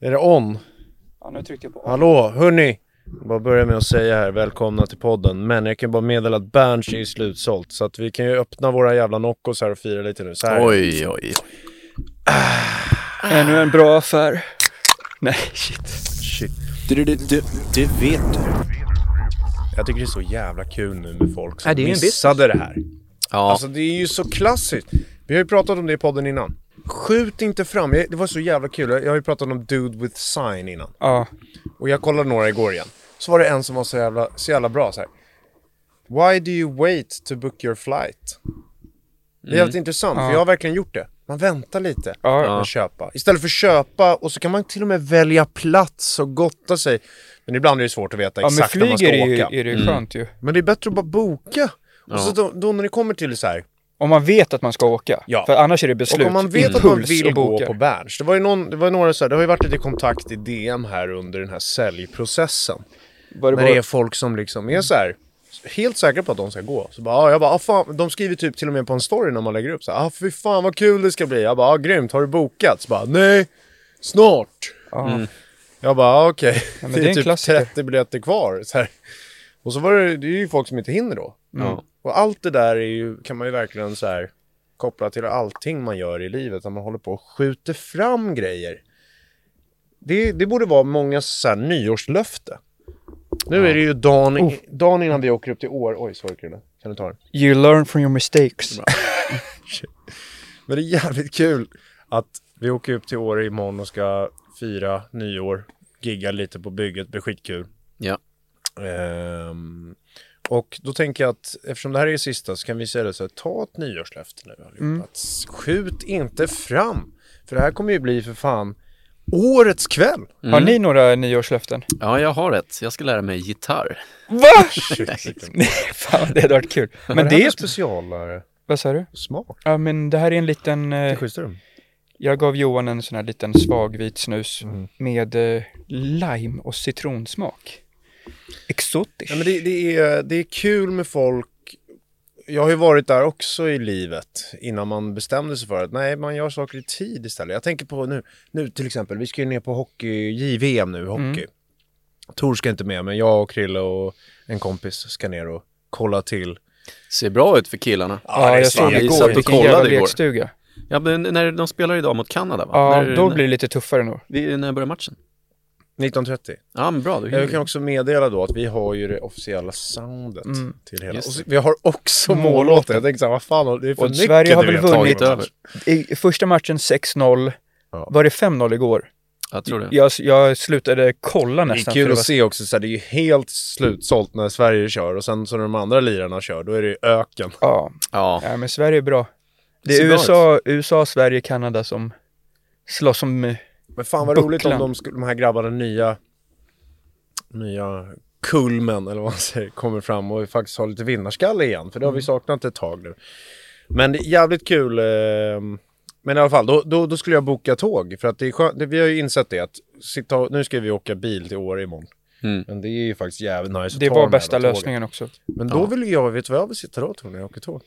Är det on? Ja, nu tryckte jag på Hallå, hörni! Jag bara börja med att säga här, välkomna till podden. Men jag kan bara meddela att Berns är slutsålt, så att vi kan ju öppna våra jävla Noccos här och fira lite nu. Så här. Oj, oj. Ännu en bra affär. Nej, shit. Shit. Du, du, du, du, du vet du. Jag tycker det är så jävla kul nu med folk som Ja, det är en missade det här. Ja. Alltså det är ju så klassiskt. Vi har ju pratat om det i podden innan. Skjut inte fram, jag, det var så jävla kul. Jag jag har ju pratat om Dude with sign innan. Ja. Och jag kollade några igår igen. Så var det en som var så jävla, så jävla bra så här. Why do you wait to book your flight? Det är jävligt intressant, för jag har verkligen gjort det. Man väntar lite Mm. Ja. med att köpa. Istället för köpa, och så kan man till och med välja plats och gotta sig. Men ibland är det svårt att veta Ja, men exakt när man flyg ska är det åka. ju är det ju skönt ju. Men det är bättre att bara boka. Och så då, då när det kommer till så här, Om man vet att man ska åka. Ja. För annars är det beslut. och om man vet Impuls att man vill och gå boka. på Berns. Det var ju någon, det var ju några så här, det har ju varit lite kontakt i DM här under den här säljprocessen. Var det När det bara... är folk som liksom är så här helt säkra på att de ska gå. Så bara, ja, jag bara, ah, fan, de skriver typ till och med på en story när man lägger upp så här, ah, fy fan vad kul det ska bli. Jag bara, ah, grymt, har du bokat? Så bara, nej, snart. Ja. Jag bara, ah, okej, men det det är är en typ klassiker. 30 biljetter kvar. Så här. Och så var det, det är ju folk som inte hinner då. Ja. Och allt det där är ju, kan man ju verkligen så här koppla till allting man gör i livet, när man håller på och skjuter fram grejer. Det, det borde vara många så här nyårslöfte. Nu är det ju dagen, dagen innan vi åker upp till år. Oj, sorry Krille. Kan du ta den? You learn from your mistakes. Mm. Men det är jävligt kul att vi åker upp till Åre imorgon och ska fira nyår, gigga lite på bygget, det blir skitkul. Ja. Ehm, och då tänker jag att eftersom det här är sista så kan vi säga det så här, ta ett nyårslöfte nu allihopa. Att skjut inte fram, för det här kommer ju bli för fan årets kväll. Har ni några nyårslöften? Ja, jag har ett. Jag ska lära mig gitarr. Va? Nej, Fan, det hade varit kul. Men Men det, här det är är... specialare Vad sa du? smak. Ja, men det här är en liten... eh, Det schyssta du. Jag gav Johan en sån här liten svag vit snus Mm. med eh, lime och citronsmak. Exotisk. Ja, men det, det, är, det är kul med folk. Jag har ju varit där också i livet innan man bestämde sig för att nej, man gör saker i tid istället. Jag tänker på nu, nu till exempel, vi ska ju ner på hockey, JVM nu, hockey. Mm. Tor ska inte med, men jag och Krille och en kompis ska ner och kolla till. Ser bra ut för killarna. ja, jag såg Jag det satt igår. och Vilken kollade jävla igår. lekstuga. Ja, men när de spelar idag mot Kanada, va? Ja, när, då när, blir det lite tuffare nog. vi- När börjar matchen? 19.30. Ja, men bra. Du Mm. hinner. Jag kan också meddela då att vi har ju det officiella soundet Mm. till hela. Och Just så, vi har också mållåten. Jag tänker så här, vad fan, det är för Och mycket Sverige har du väl vet. vunnit- Tagit över. I första matchen 6-0. Ja. Var det 5-0 igår? Jag tror det. Jag, jag slutade kolla Det är nästan. för kul det att var- se också, så här, det är ju helt slutsålt när Sverige kör och sen så när de andra lirarna kör, då är det ju öken. Ja, Ja. ja, men Sverige är bra. Det ser är bra USA, USA, Sverige, Kanada som slåss om... eh, Men fan vad Bucklan. roligt om de, skulle- de här grabbarna, nya, nya kulmen eller vad man säger, kommer fram och faktiskt har lite vinnarskalle igen, för det har Mm. vi saknat ett tag nu. Men det är jävligt kul. ehm, men i alla fall, då, då, då skulle jag boka tåg, för att det är skönt, det, vi har ju insett det att sitta, och- nu ska vi åka bil till Åre imorgon. Mm. Men det är ju faktiskt jävligt nice att Det ta var de här bästa jävla tågen. lösningen också. Men då vill ju jag, vet du vad jag vill sitta då tror ni, när jag åker tåg?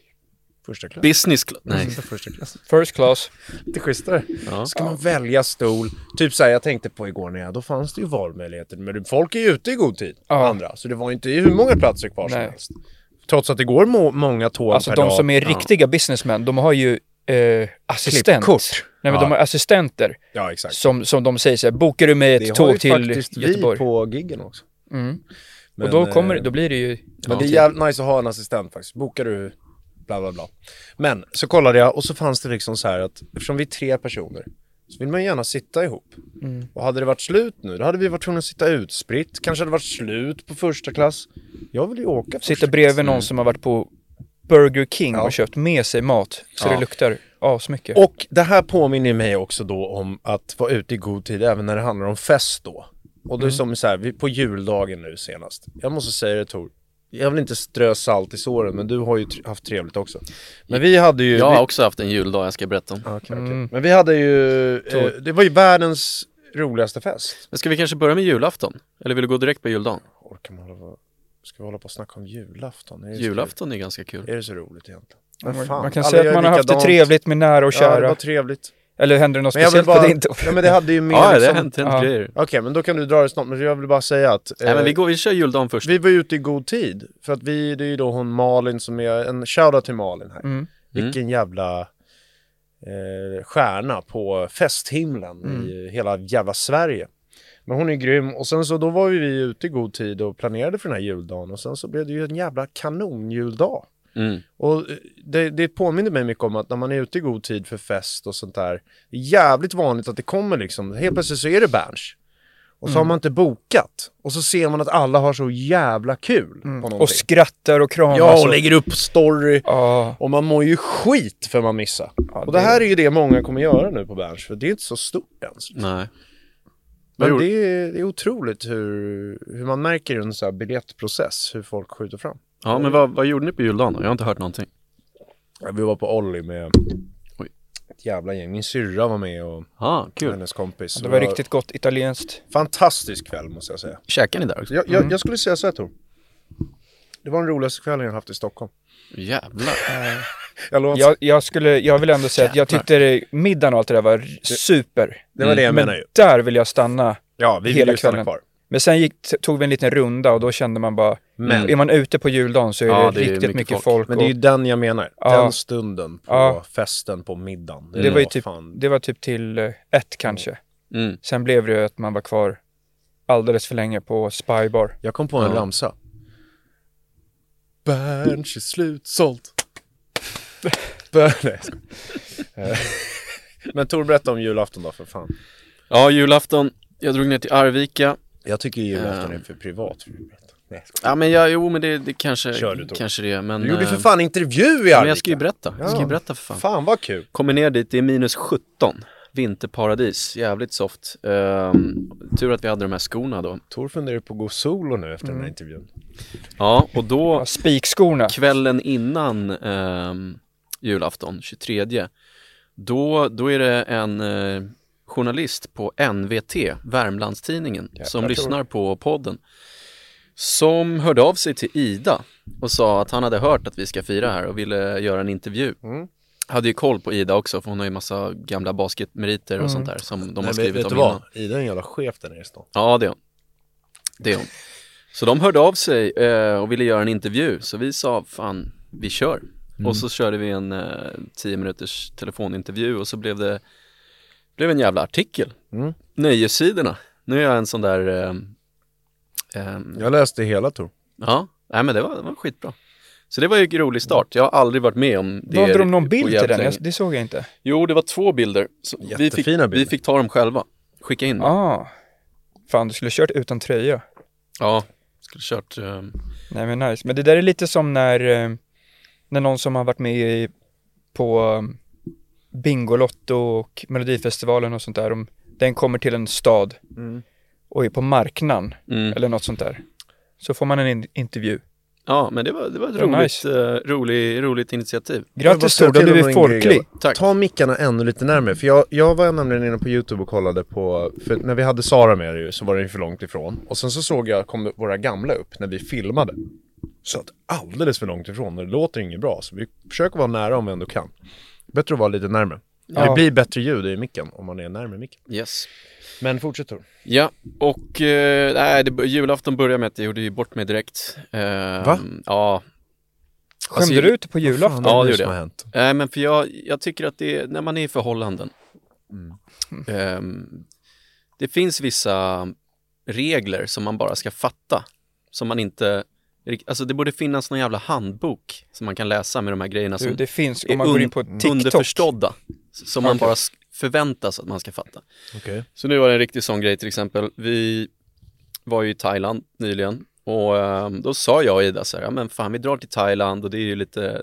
Första klass. Business cl- Nej. Sitta första klass. First class. Lite schysstare. Ja. Ska man välja stol. Typ såhär, jag tänkte på igår när jag, då fanns det ju valmöjligheter. Men det- folk är ju ute i god tid, Ja. andra. Så det var ju inte hur många platser kvar som Nej. helst. Trots att det går må- många tåg Alltså per de dag. som är riktiga businessmän, de har ju eh, assistent. Klippkort. Nej men Ja. de har assistenter Ja, exakt. som, som de säger så här, bokar du mig ett Det har ju tåg till faktiskt vi Göteborg? på giggen också. Mm. Men, och då, kommer, eh, då blir det ju... Men Ja, det är typ. jävligt nice att ha en assistent faktiskt. Bokar du bla bla bla. Men så kollade jag och så fanns det liksom så här att eftersom vi är tre personer så vill man ju gärna sitta ihop. Och hade det varit slut nu, då hade vi varit tvungna att sitta utspritt. Kanske hade det varit slut på första klass. Jag vill ju åka första Mm. Sitta bredvid någon som har varit på Burger King och köpt med sig mat så det luktar. asmycket. Och det här påminner mig också då om att vara ute i god tid även när det handlar om fest då. Och det är som så här, vi, på juldagen nu senast. Jag måste säga det Tor, jag vill inte strö salt i såren men du har ju tr- haft trevligt också. Men vi hade ju... Jag vi, har också haft en juldag jag ska berätta om. Ja, okej, okej. Mm. Men vi hade ju, eh, det var ju världens roligaste fest. Men ska vi kanske börja med julafton? Eller vill du gå direkt på juldagen? Orkar man hålla på, ska vi hålla på och snacka om julafton? Är det så- Julafton är ganska kul. Är det så roligt egentligen? Men man kan alla säga gör att man har haft det likadant. trevligt med nära och Ja, kära. det var trevligt. Eller händer det något Men jag vill speciellt bara... på din då? Ja men det hade ju mer Ja, det har liksom... hänt, hänt ja. grejer. Okej, men då kan du dra det snabbt, men jag vill bara säga att... Nej, men eh, vi, går, vi kör juldagen först. Vi var ute i god tid, för att vi, det är ju då hon Malin som är, en shoutout till Malin här. Mm. Vilken jävla eh, stjärna på festhimlen i hela jävla Sverige. Men hon är grym och sen så då var ju vi ute i god tid och planerade för den här juldagen och sen så blev det ju en jävla kanonjuldag. Mm. Och eh, det, det påminner mig mycket om att när man är ute i god tid för fest och sånt där, det är jävligt vanligt att det kommer liksom, helt plötsligt så är det Berns. Och så Mm. har man inte bokat. Och så ser man att alla har så jävla kul på någonting. Mm. Och skrattar och kramas. ja, och lägger upp story. Ja, Och man mår ju skit för man missar. och det det- här är ju det många kommer göra nu på Berns, för det är inte så stort ens. Nej. Men gjorde- det är, det är otroligt hur, hur man märker i en sån här biljettprocess, hur folk skjuter fram. Ja, men vad, vad gjorde ni på juldagen då? Jag har inte hört någonting. Ja, Vi var på Olli med Oj. ett jävla gäng. Min syrra var med och Ja, ah, kul. hennes kompis. det var riktigt gott italienskt. fantastisk kväll måste jag säga. Käkar ni där också? Jag, jag, jag skulle säga så här Tor. Det var den roligaste kvällen jag haft i Stockholm. Jävlar. Jag lovar. Jag, jag, skulle, jag vill ändå säga att jag tyckte det- middagen och allt det där var r- super. det var det jag Men menar ju. där vill jag stanna. Ja, vi ville hela ju stanna kvällen. kvar. Men sen gick, t- tog vi en liten runda och då kände man bara, Men- är man ute på juldagen så är Ja, det, det är riktigt mycket, folk. Men det är ju och, den jag menar. Ja. Den stunden på Ja. festen, på middagen. det, var ju typ, fan- det var typ till eh, ett kanske. Mm. Sen blev det ju att man var kvar alldeles för länge på Spybar. Jag kom på en Ja. ramsa. Berns är slutsålt. Bern... Nej, jag skojar. Eh, Men Tor, berätta om julafton då för fan. Ja, julafton. Jag drog ner till Arvika. Jag tycker Ehm. julafton är för privat för att berätta. Nej, jag skojar. Ja, men jag, jo, men det, det kanske, Kör du, Tor. kanske det är, men... Du gjorde ju eh, för fan intervju i Arvika. Men jag ska ju berätta. Jag ska Ja. ju berätta för fan. Fan vad kul. Kommer ner dit, det är minus 17. Vinterparadis, jävligt soft. Ehm, tur att vi hade de här skorna då. Tor funderar på att gå solo nu efter Mm. den här intervjun. Ja, och då Ja, spikskorna. kvällen innan ehm, julafton, 23, då, då är det en eh, journalist på NVT, Värmlandstidningen, som lyssnar på podden, som hörde av sig till Ida och sa att han hade hört att vi ska fira här och ville göra en intervju. Hade ju koll på Ida också, för hon har ju massa gamla basketmeriter och sånt där som de har skrivit om innan. Ida är en jävla chef där nere i stan. Ja, det är hon. Det är hon. Så de hörde av sig eh, och ville göra en intervju, så vi sa fan, vi kör. Mm. Och så körde vi en eh, 10 minuters telefonintervju och så blev det blev en jävla artikel. Mm. Nöjessidorna. Nu är jag en sån där, eh, eh, Jag läste hela Tor. ja, nej men det var, det var skitbra. Så det var ju en rolig start. Jag har aldrig varit med om det. Valde de på någon bild till jävligt den? Jag, länge. det såg jag inte. Jo, det var två bilder. Så vi, fick, Jättefina bilder. vi fick ta dem själva. Skicka in dem. Ah. Fan, du skulle kört utan tröja. Ja, skulle kört ehm, Nej men nice. Men det där är lite som när, eh, när någon som har varit med i, på eh, Bingolotto och Melodifestivalen och sånt där, om den kommer till en stad och är på marknaden Mm. eller något sånt där. Så får man en in- intervju. Ja, men det var, det var ett Det var roligt, nice. eh, rolig, roligt initiativ. Grattis Tor, du har blivit folklig. Tack. Ta mickarna ännu lite närmare, för jag, jag var nämligen inne på YouTube och kollade på, för när vi hade Sara med ju, så var den ju för långt ifrån. Och sen så såg jag, kom våra gamla upp när vi filmade. Så att alldeles för långt ifrån, och det låter inget bra. Så vi försöker vara nära om vi ändå kan. Bättre att vara lite närmare. Det Ja. blir bättre ljud i micken om man är närmare micken. Yes. Men fortsätt Tor. Ja, och eh, nej, det, julafton började med att jag gjorde ju bort mig direkt. Eh, Va? Ja, Skämde Alltså, du ut på julafton? Ja, det nu gjorde som jag. har hänt. nej men för jag, jag tycker att det, är- när man är i förhållanden, Mm. ehm, det finns vissa regler som man bara ska fatta, som man inte, rikt- alltså det borde finnas någon jävla handbok som man kan läsa med de här grejerna Du, som alltså, det finns, är om man går un- in på TikTok. underförstådda, som man bara s- förväntas att man ska fatta. Okej. Så nu var det en riktig sån grej till exempel. Vi var ju i Thailand eh, nyligen och ehm, då sa jag och Ida så här, ja men fan vi drar till Thailand och det är ju lite,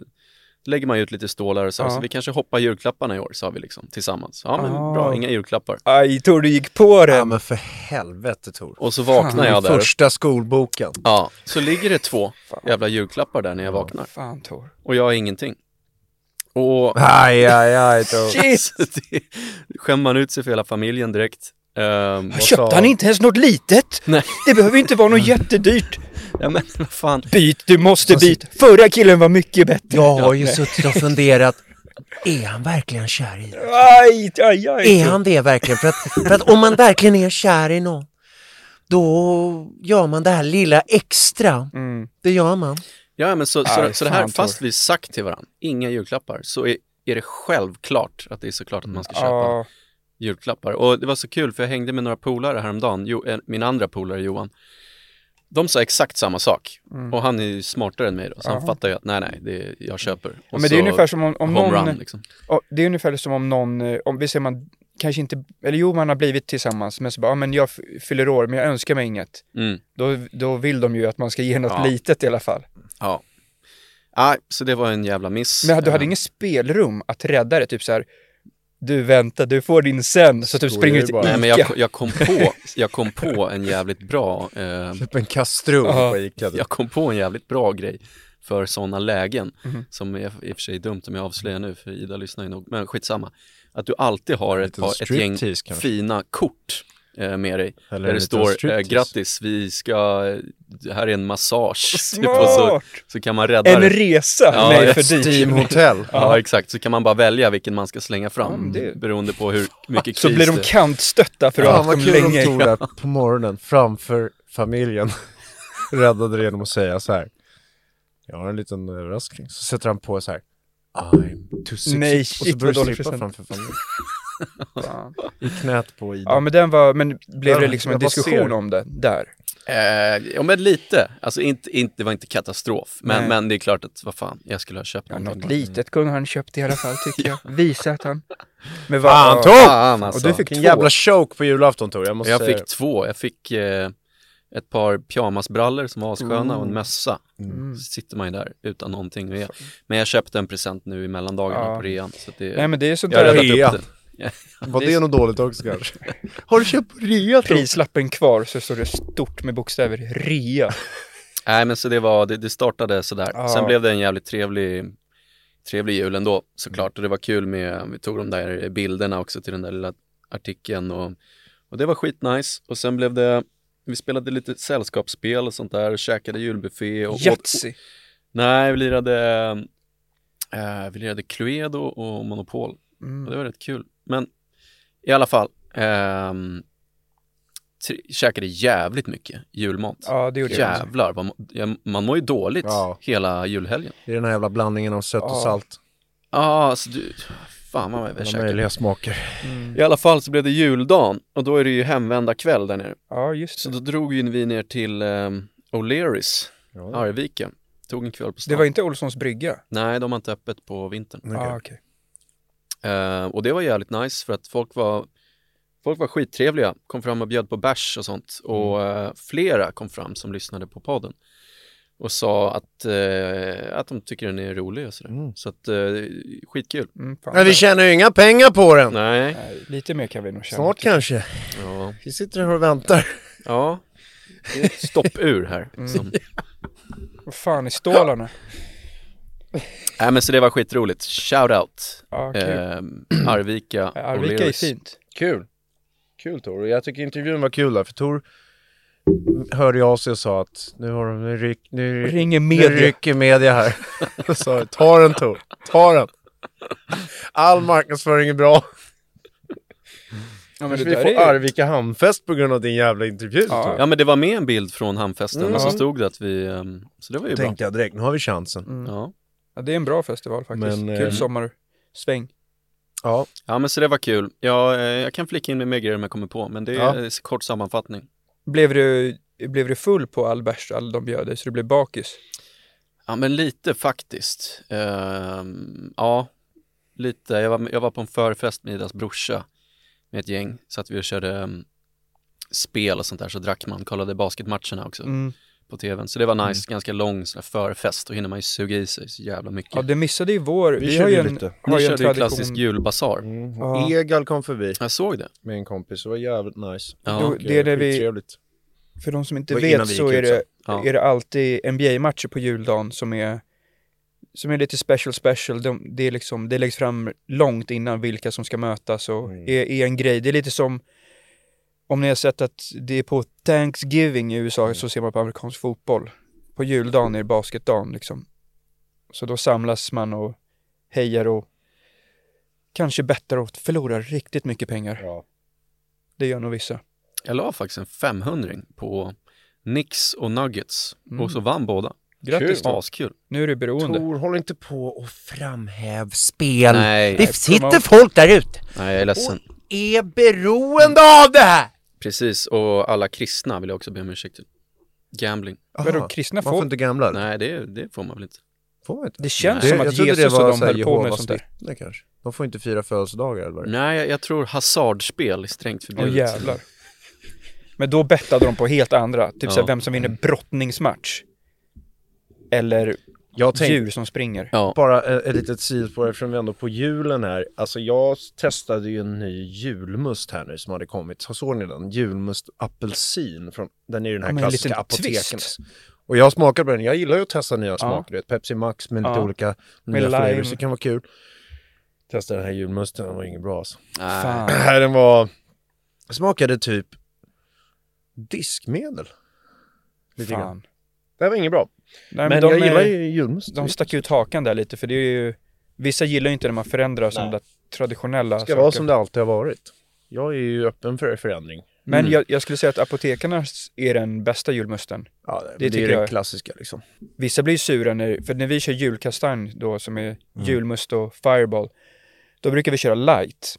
lägger man ut lite stålar och så, här, Ja. så vi kanske hoppar julklapparna i år, sa vi liksom tillsammans. Ja, men Ah. bra, inga julklappar. Aj, Tor du gick på Ja den! men för helvete Tor. Och så vaknar jag där. Första skolboken. Ja, så ligger det två jävla julklappar där när jag vaknar. Fan Tor. Och jag har ingenting. Och Aj, aj, aj Tor. Shit! det skämmer man ut sig för hela familjen direkt. Ehm, och Köpte sa- han inte ens något litet? Nej. Det behöver inte vara något jättedyrt. Ja, men vad fan. Mm. Byt, du måste byta. Förra killen var mycket bättre. Jag har ju suttit och funderat, är han verkligen kär i dig? Aj, aj, aj. Är han det verkligen? För att, för att om man verkligen är kär i någon, då gör man det här lilla extra. Mm. Det gör man. Ja, men så, så, Aj, så det här, fan, fast Tor. vi sagt till varandra, inga julklappar, så är, är det självklart att det är såklart att man ska köpa Mm, Ja, julklappar. Och det var så kul, för jag hängde med några polare häromdagen, jo, eh, min andra polare Johan. De sa exakt samma sak. Mm. Och han är ju smartare än mig då, så han fattar ju att nej, nej, det är, jag köper. Och men det så är ungefär som om, om home någon... run, liksom. Ja, det är ungefär som om någon, eh, om vi säger man kanske inte, eller jo man har blivit tillsammans, men så bara, ja, men jag f- fyller år, men jag önskar mig inget. Mm. Då, då vill de ju att man ska ge något Ja. litet i alla fall. Ja. Nej, så det var en jävla miss. Men du hade Eh, inget spelrum att rädda det, typ så här, du vänta, du får din sen, så typ Så springer är du det till bara. Nej, Ica. men jag, jag, kom på, jag kom på en jävligt bra eh, Typ en kastrull Ja. på Ica. Jag kom på en jävligt bra grej för sådana lägen, Mhm. som är i och för sig är dumt om jag avslöjar nu, för Ida lyssnar ju nog, men skitsamma. Att du alltid har ett, liten par, ett gäng striptease kanske. fina kort eh, med dig, Eller där en det liten står eh, striptease. grattis, vi ska, det här är en massage. typ, och så, Smart! så kan man rädda En det. resa, Ja, nej ja. för dyrt. Steam Hotel. Ja, exakt, så kan man bara välja vilken man ska slänga fram, Ja, men det- beroende på hur mycket Så kris blir de det- kantstötta för att Ja, ha vad haft dem kul om länge. Tor där på morgonen framför familjen räddade det genom att säga så här. Jag har en liten överraskning. Så sätter han på så här. I'm too sexy. Nej, och shit, så vad börjar dålig du strippa present. framför familjen. Fan. I knät på Ida. Ja men den var, men blev Ja, det liksom en jag bara diskussion ser. om det där? Eh, ja, men lite. Alltså, inte, inte, det var inte katastrof, men, Nej. men det är klart att, vad fan, jag skulle ha köpt Ja, någonting. något litet kunde han köpt i alla fall tycker jag. Visa att han... Men vad... Fan Tor! Fan, och alltså. du fick två. Vilken jävla choke på julafton Tor. Jag måste Jag säga fick två. Jag fick eh, ett par pyjamasbrallor som var assköna Mm. och en mössa. Så sitter man ju där utan någonting. Och jag, men jag köpte en present nu i mellandagarna Ja. på rean. Så att det, Nej men det är sånt jag har där räddar- rea. räddat upp det. det. Var det något dåligt också kanske? Har du köpt på rea Tor? prislappen kvar så står det stort med bokstäver rea. Nej men så det var, det, det startade sådär. Ja. Sen blev det en jävligt trevlig, trevlig jul ändå såklart. Och det var kul med, vi tog de där bilderna också till den där lilla artikeln och, och det var skitnice. Och sen blev det, vi spelade lite sällskapsspel och sånt där och käkade julbuffé och åt, Yatzy. Nej, vi lirade, eh, vi lirade Cluedo och Monopol. Mm. Och det var rätt kul. Men i alla fall, ehm, tre, käkade jävligt mycket julmat. Ja det gjorde jag. Jävlar, vad, må- ja, man mår ju dåligt Ja. hela julhelgen. Det är den här jävla blandningen av sött och Ja. salt. Ja, ah, alltså du, fan vad jag Alla käkade. Mm. möjliga smaker. I alla fall så blev det juldagen och då är det ju hemvända kväll där nere. Ja just Så det. då drog ju vi ner till ehm, O'Learys, Ja. Arvika. Tog en kväll på stan. Det var inte Olssons brygga? Nej, de har inte öppet på vintern. Ja Okej. okej. Eh, och det var jävligt nice för att folk var, folk var skittrevliga, kom fram och bjöd på bärs och sånt. Och Mm. eh, flera kom fram som lyssnade på podden och sa att, eh, att de tycker den är rolig och sådär. Så att, eh, skitkul. Mm, fan. Men vi tjänar ju inga pengar på den. Nej, Nej, lite mer kan vi nog Typ, känna. Snart kanske. ja, Vi sitter här och väntar. ja. det är ett stoppur här. Mm. Som, Vad fan är stålarna? nej men så det var skitroligt. Shout out Ja, kul. eh, Arvika och Arvika är Leris. fint. Kul. Kul Tor. Och Jag tycker intervjun var kul där, för Tor hörde jag av sig och sa att nu har de, nu, ryck, nu, Ringer nu media. rycker media här. Och sa ta den Tor, ta den. All marknadsföring är bra. Ja, men Vi det får där är ju- Arvika hamnfest på grund av din jävla intervju Ja. Tor. Ja men det var med en bild från hamnfesten och så Mm. stod det att vi, ehm, så det var ju Då tänkte jag direkt, nu har vi chansen. bra. Ja. Ja, det är en bra festival faktiskt. Men, eh, Kul sommarsväng. Ja, Ja men så det var kul. Jag, eh, jag kan flika in med mer grejer om jag kommer på, men det är Ja. en kort sammanfattning. Blev du, blev du full på all bärs all de bjöd dig så du blev bakis? Ja men lite faktiskt. Ehm, ja, lite. Jag var, jag var på en förfest med Idas brorsa med ett mm, Mm. Mm. gäng, så att vi körde ehm, spel och sånt där, så drack man, kollade basketmatcherna också. på tvn. Så det var nice, ganska lång sån här förfest. Då hinner man ju suga i sig så jävla mycket. Ja, det missade ju vår, vi, har körde ju ju en, lite. har Ni ju en körde ju tradition. Mm. klassisk julbasar. Ja. Egal kom förbi Jag såg det. med en kompis, det var jävligt nice. eh, Ja. Jo, det är det vi- Skittrevligt. För de som inte Det var innan vet vi så gick är ut det, sen. Ja. är det alltid NBA-matcher på juldagen som är, som är lite special special. De, det, är liksom, det läggs fram långt innan vilka som ska mötas och Mm. är, är en grej. Det är lite som om ni har sett att det är på Thanksgiving i USA Mm. så ser man på amerikansk fotboll. På juldagen är det basketdagen liksom. Så då samlas man och hejar och kanske bettar och förlorar riktigt mycket pengar. Ja. Det gör nog vissa. Jag la faktiskt en 500 på Knicks och Nuggets och så vann båda. Mm. Grattis Kul. då. Askul. Nu är du beroende. Tor, håll inte på och framhäv. Häv spel. Nej. Alltså. Nej, det sitter promote. folk där ute Nej, jag är ledsen. och är beroende av det här. Precis, och alla kristna vill jag också be om ursäkt till. Gambling. Vadå, kristna Man får folk? inte gamla? Nej. Nej, det, det får man väl inte. Får man inte? Det känns som jag att trodde Jesus det var och de så här höll på med Jehovas sånt där. vittnen kanske. De får inte fira födelsedagar eller vad det är. Nej, jag, jag tror hasardspel är strängt Åh förbjudet. jävlar. Men då bettade de på helt andra, typ Ja. såhär vem som vinner Mm. brottningsmatch. Eller Jag tänkte djur som springer. Ja, bara eh, ett litet sidospår eftersom vi ändå är på julen här. Alltså jag testade ju en ny julmust här nu som hade kommit. Så såg ni den? Julmust apelsin. Från, den är ju den här Ja, men en klassiska liten apoteken. twist. Och jag smakar på den. Jag gillar ju att testa nya smaker. Du vet, Pepsi Max med lite Ja. olika Med nya lime. flavors. Det kan vara kul. Testade den här julmusten. Den var inget bra alltså. Fan. Nej, den var... Smakade typ diskmedel. Lite grann. fan. Det var inget bra. Nej, men, men de, jag gillar är- ju julmust. de stack ut hakan där lite för det är ju, vissa gillar ju inte när man förändrar sådana där traditionella ska vara som det alltid har varit. Jag är ju öppen för förändring. Men jag, jag skulle säga att apotekarnas är den bästa julmusten. Ja, det, det är ju tycker den jag. klassiska liksom. Vissa blir ju sura när, för när vi kör julkastanj då som är julmust och fireball, då brukar vi köra light.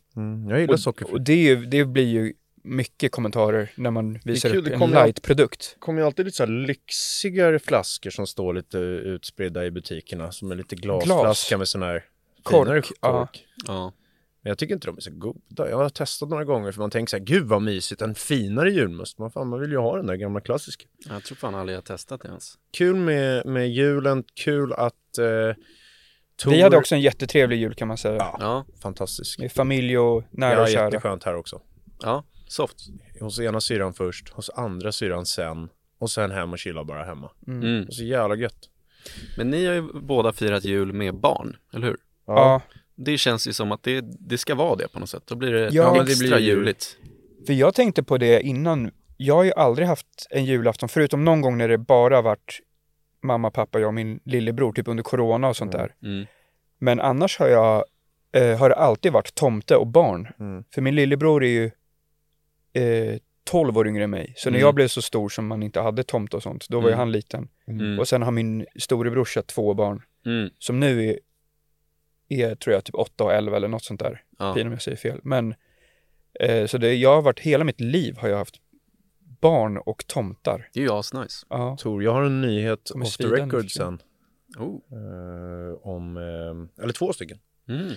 jag gillar sockerfritt. Och det, är ju, det blir ju mycket kommentarer när man visar kul, upp det en kommer ju light-produkt. Det kommer ju alltid lite så här lyxigare flaskor som står lite utspridda i butikerna. Som är lite glasflaska Glas. med sån här Kork, finare ja. kork. ja. Men jag tycker inte de är så goda. Jag har testat några gånger för man tänker så här, gud vad mysigt, en finare julmust. Man, fan, man vill ju ha den där gamla klassiska. Jag tror fan aldrig jag har testat det ens. Kul med, med julen, kul att eh, Tor... Vi hade också en jättetrevlig jul kan man säga. Ja, Fantastisk. Med familj och nära Ja, och kära. jätteskönt här också. ja, soft. Hos ena syran först, hos andra syran sen. Och sen hem och chilla bara hemma. Mm. Och så jävla gött. Men ni har ju båda firat jul med barn, eller hur? Ja. Det känns ju som att det, det ska vara det på något sätt. Då blir det Ja, men det extra blir ju- juligt. för jag tänkte på det innan. Jag har ju aldrig haft en julafton, förutom någon gång när det bara varit mamma, pappa, jag och min lillebror, typ under corona och sånt där. Mm. Men annars har jag, eh, har det alltid varit tomte och barn. Mm. För min lillebror är ju eh, 12 år yngre än mig. Så när Mm. jag blev så stor som man inte hade tomte och sånt, då var ju Mm. han liten. Mm. Och sen har min storebrorsa två barn Mm. som nu är, är tror jag, typ 8 och 11 eller något sånt där. Ja. Pina om jag säger fel. Men eh, så det, jag har varit, hela mitt liv har jag haft barn och tomtar. Det är ju asnice. Ja. Tor, jag har en nyhet Kommer off the svida nu, record tycker sen. jag. Oh. Eh, om, eh, eller två stycken. Mm.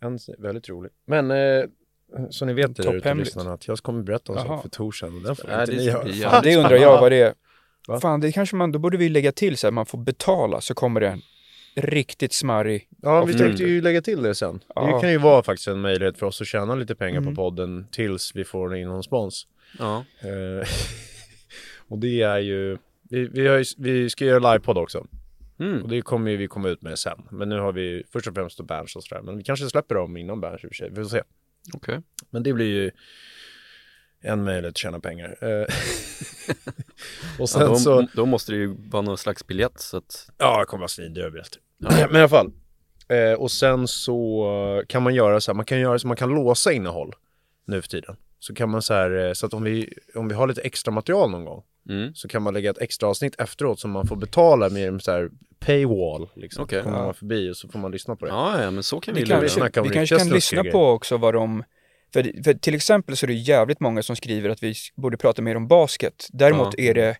En s- väldigt rolig. Men eh, så ni vet det där ute, Topphemligt. lyssnarna att jag kommer berätta om Jaha. sak för Tor sen. och Den får Nej, inte det ni ska höra. bli Fan, jävligt Det undrar jag vad det är. Va? Fan, det kanske man, då borde vi lägga till så här, man får betala så kommer det en riktigt smarrig. Ja, vi Mm. tänkte ju lägga till det sen. Det Ja. Mm. kan ju vara faktiskt en möjlighet för oss att tjäna lite pengar på podden tills vi får in någon spons. Ja. Eh, och det är ju, vi, vi, har ju, vi ska göra livepodd också. Mm. Och det kommer ju vi komma ut med sen. Men nu har vi först och främst då Berns och sådär. Men vi kanske släpper dem innan Berns i och för sig. Vi får se. Okej. Men det blir ju en möjlighet att tjäna pengar. Eh, och sen Ja, då, så... då måste det ju vara någon slags biljett så att... Ja, jag kommer vara snidig överallt. Men i alla fall. Eh, och sen så kan man göra så här, man kan göra så man kan låsa innehåll nu för tiden. Så kan man så här, eh, så att om vi, om vi har lite extra material någon gång Mm. så kan man lägga ett extra avsnitt efteråt som man får betala med en så här paywall. Liksom. Okej. Kommer man förbi och så får man lyssna på det. Ja, ja, men så kan vi Vi lura. snacka kanske, om vi riktiga kanske kan snuskiga lyssna grejer. på också vad de, för, för till exempel så är det jävligt många som skriver att vi borde prata mer om basket. Däremot Ja. är det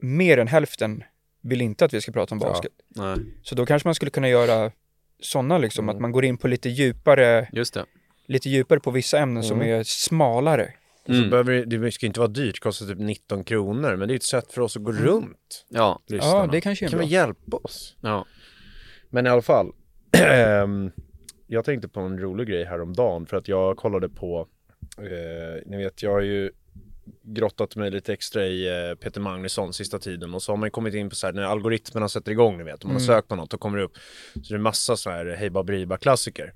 mer än hälften vill inte att vi ska prata om basket. Nej, Så då kanske man skulle kunna göra sådana liksom, att man går in på lite djupare, just det. Mm. lite djupare på vissa ämnen som är smalare. Och så behöver det, det ska inte vara dyrt, kostar typ 19 kronor, men det är ett sätt för oss att gå runt Ja, lyssnarna. Ja, det kanske är kan bra. vi hjälpa oss? ja. Men i alla fall, ehm, jag tänkte på en rolig grej häromdagen för att jag kollade på, eh, ni vet jag har ju grottat mig lite extra i eh, Peter Magnusson sista tiden och så har man ju kommit in på så här när algoritmerna sätter igång ni vet, om man har sökt på något då kommer det upp. Så det är massa så här Hej Baberiba klassiker.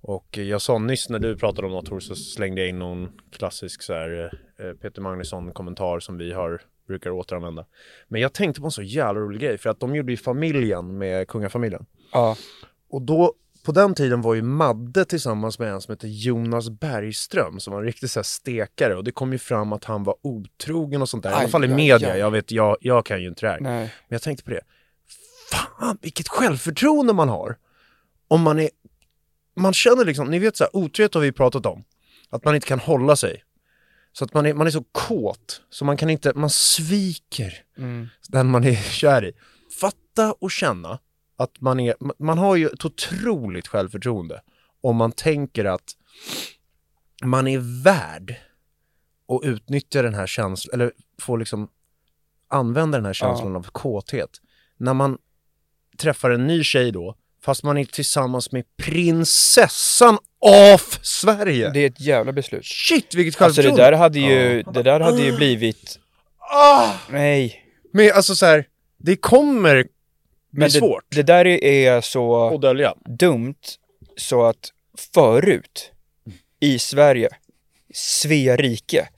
Och eh, jag sa nyss när du pratade om något Tor så slängde jag in någon klassisk så här eh, Peter Magnusson kommentar som vi har brukar återanvända. Men jag tänkte på en så jävla rolig grej för att de gjorde ju familjen med kungafamiljen. Ja, Och då, på den tiden var ju Madde tillsammans med en som hette Jonas Bergström som var en riktig så här stekare och det kom ju fram att han var otrogen och sånt där. I alla fall i media, jag vet, jag, jag kan ju inte det här. Men nej. jag tänkte på det, fan vilket självförtroende man har! Om man är, man känner liksom, ni vet så här, otrohet har vi pratat om, att man inte kan hålla sig. Så att man är, man är så kåt, så man kan inte, man sviker Mm. den man är kär i. Fatta och känna att man är, man har ju ett otroligt självförtroende om man tänker att man är värd att utnyttja den här känslan, eller få liksom använda den här känslan av kåthet. När man träffar en ny tjej då, fast man är tillsammans med prinsessan av Sverige. Det är ett jävla beslut. Shit vilket Alltså det självförtroende! där hade ju, det där hade ju blivit, ah! nej. Men alltså så här, det kommer bli Men det, svårt det där är så... att dölja. dumt så att förut i Sverige, Svea rike,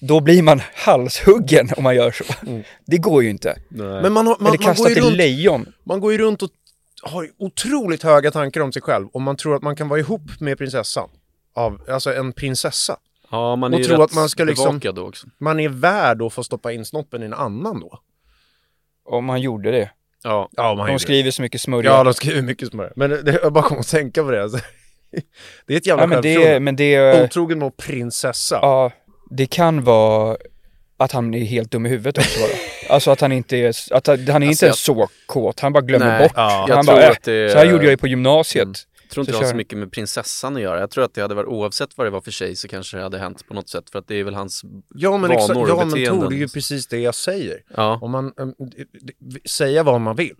då blir man halshuggen om man gör så. Mm. Det går ju inte. Men man, har, man, Eller man, kastat går ju till runt, lejon. man går ju runt och har otroligt höga tankar om sig själv och man tror att man kan vara ihop med prinsessan. Av, alltså en prinsessa. ja man Och är ju tro rätt att man ska liksom- bevakad då också. Man är värd att få stoppa in snoppen i en annan då. Om han gjorde det. Ja, Ja, man De skriver så mycket smörja. Ja, de skriver mycket smörre. Men det, det, jag bara kom att tänka på det. Alltså. Det är ett jävla Ja, men det, självförtroende. men det, Otrogen mot prinsessa. ja, det kan vara att han är helt dum i huvudet också bara. Alltså att han inte är, att han han är inte Alltså så jag- kåt, han bara glömmer Nej, bort. ja. Jag han tror bara, äh, att det- så här gjorde jag ju på gymnasiet. jag tror Så inte det har kör så den. mycket med prinsessan att göra. Jag tror att det hade varit, oavsett vad det var för tjej, så kanske det hade hänt på något sätt. För att det är väl hans Ja men vanor exakt, och ja men beteenden. Tor, det är ju precis det jag säger. Ja. Om man, eh, äm, det- det- säga vad man vill.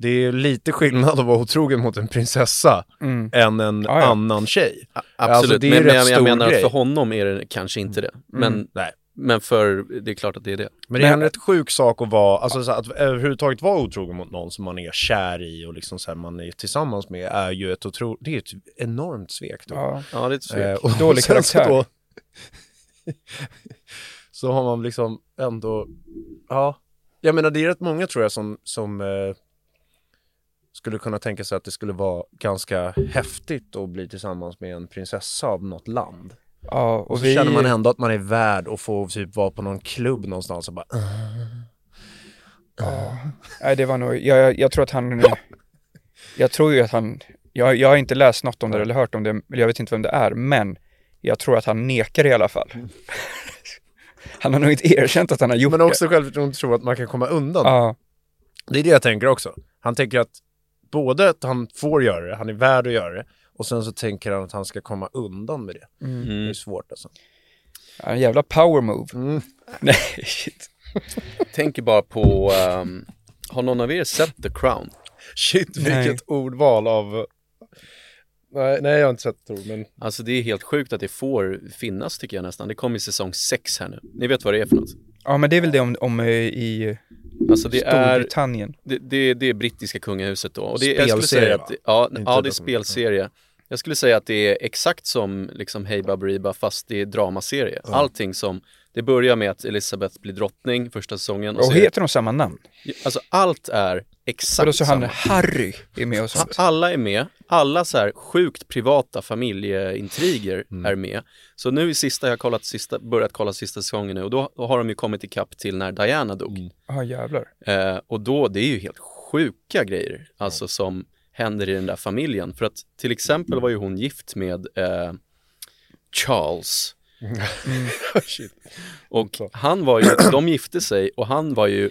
Det är lite skillnad att vara otrogen mot en prinsessa än en Mm. Ja, ja. annan tjej. Absolut, Alltså, det är ju men, rätt men jag, jag stor menar att grej. Mm, för honom är det kanske inte det. Men, Nej. men för, det är klart att det är det. Men det är Men- en rätt sjuk sak att vara, alltså så här, att överhuvudtaget vara otrogen mot någon som man är kär i och liksom så här, man är tillsammans med är ju ett otro, det är ju ett enormt svek då. Ja. Ja, det är så. Eh, och Dålig sen så karaktär. då- så har man liksom ändå, ja, jag menar det är rätt många tror jag som, som eh, skulle kunna tänka sig att det skulle vara ganska häftigt att bli tillsammans med en prinsessa av något land. Ja, och, Och så vi... känner man ändå att man är värd att få typ vara på någon klubb någonstans och bara "Ugh." Nej, det var nog, jag, jag, jag tror att han, jag tror ju att han, jag, jag har inte läst något om det eller hört om det, eller jag vet inte vem det är, men jag tror att han nekar i alla fall. Han har nog inte erkänt att han har gjort Men också självförtroende tror att man kan komma undan. det. Ja, Det är det jag tänker också. Han tänker att både att han får göra det, han är värd att göra det, och sen så tänker han att han ska komma undan med det. Det är svårt alltså. en jävla power move. Mm. Nej, shit. Jag tänker bara på, ehm, har någon av er sett The Crown? Shit, Nej. vilket ordval av... Nej, nej, jag har inte sett Tor, men... Alltså det är helt sjukt att det får finnas tycker jag nästan. Det kommer i säsong 6 här nu. Ni vet vad det är för något? Ja, men det är väl det om, om eh, i Alltså det är, Storbritannien. det, det, det är brittiska kungahuset då. Och det, jag skulle Spelserie, säga va? att, det- ja, Inte ja, det är dokumentär. spelserie. Jag skulle säga att det är exakt som liksom Hey Baberiba fast det är dramaserie. Allting som, det börjar med att Elisabeth blir drottning första säsongen. Och så är det- heter de samma namn? Alltså allt är exakt Och då så han samma. Harry är med och sånt. Alla är med, alla så här sjukt privata familjeintriger Mm. är med. Så nu i sista, jag har kollat sista, börjat kolla sista säsongen nu och då, då har de ju kommit ikapp till när Diana dog. Mm. Ja, jävlar. Eh, och då, det är ju helt sjuka grejer, alltså som händer i den där familjen. För att till exempel var ju hon gift med eh, Charles. Mm. Shit. Och han var ju, de gifte sig och han var ju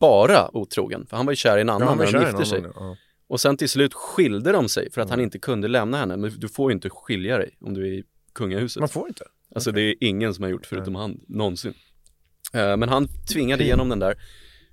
bara otrogen, för han var ju kär i en annan han var när kär i de en gifte annan, sig. ja. Och sen till slut skilde de sig för att han inte kunde lämna henne. Men du får ju inte skilja dig om du är i kungahuset. Man får inte. Alltså det är ingen som har gjort förutom han någonsin. Eh, men han tvingade igenom den där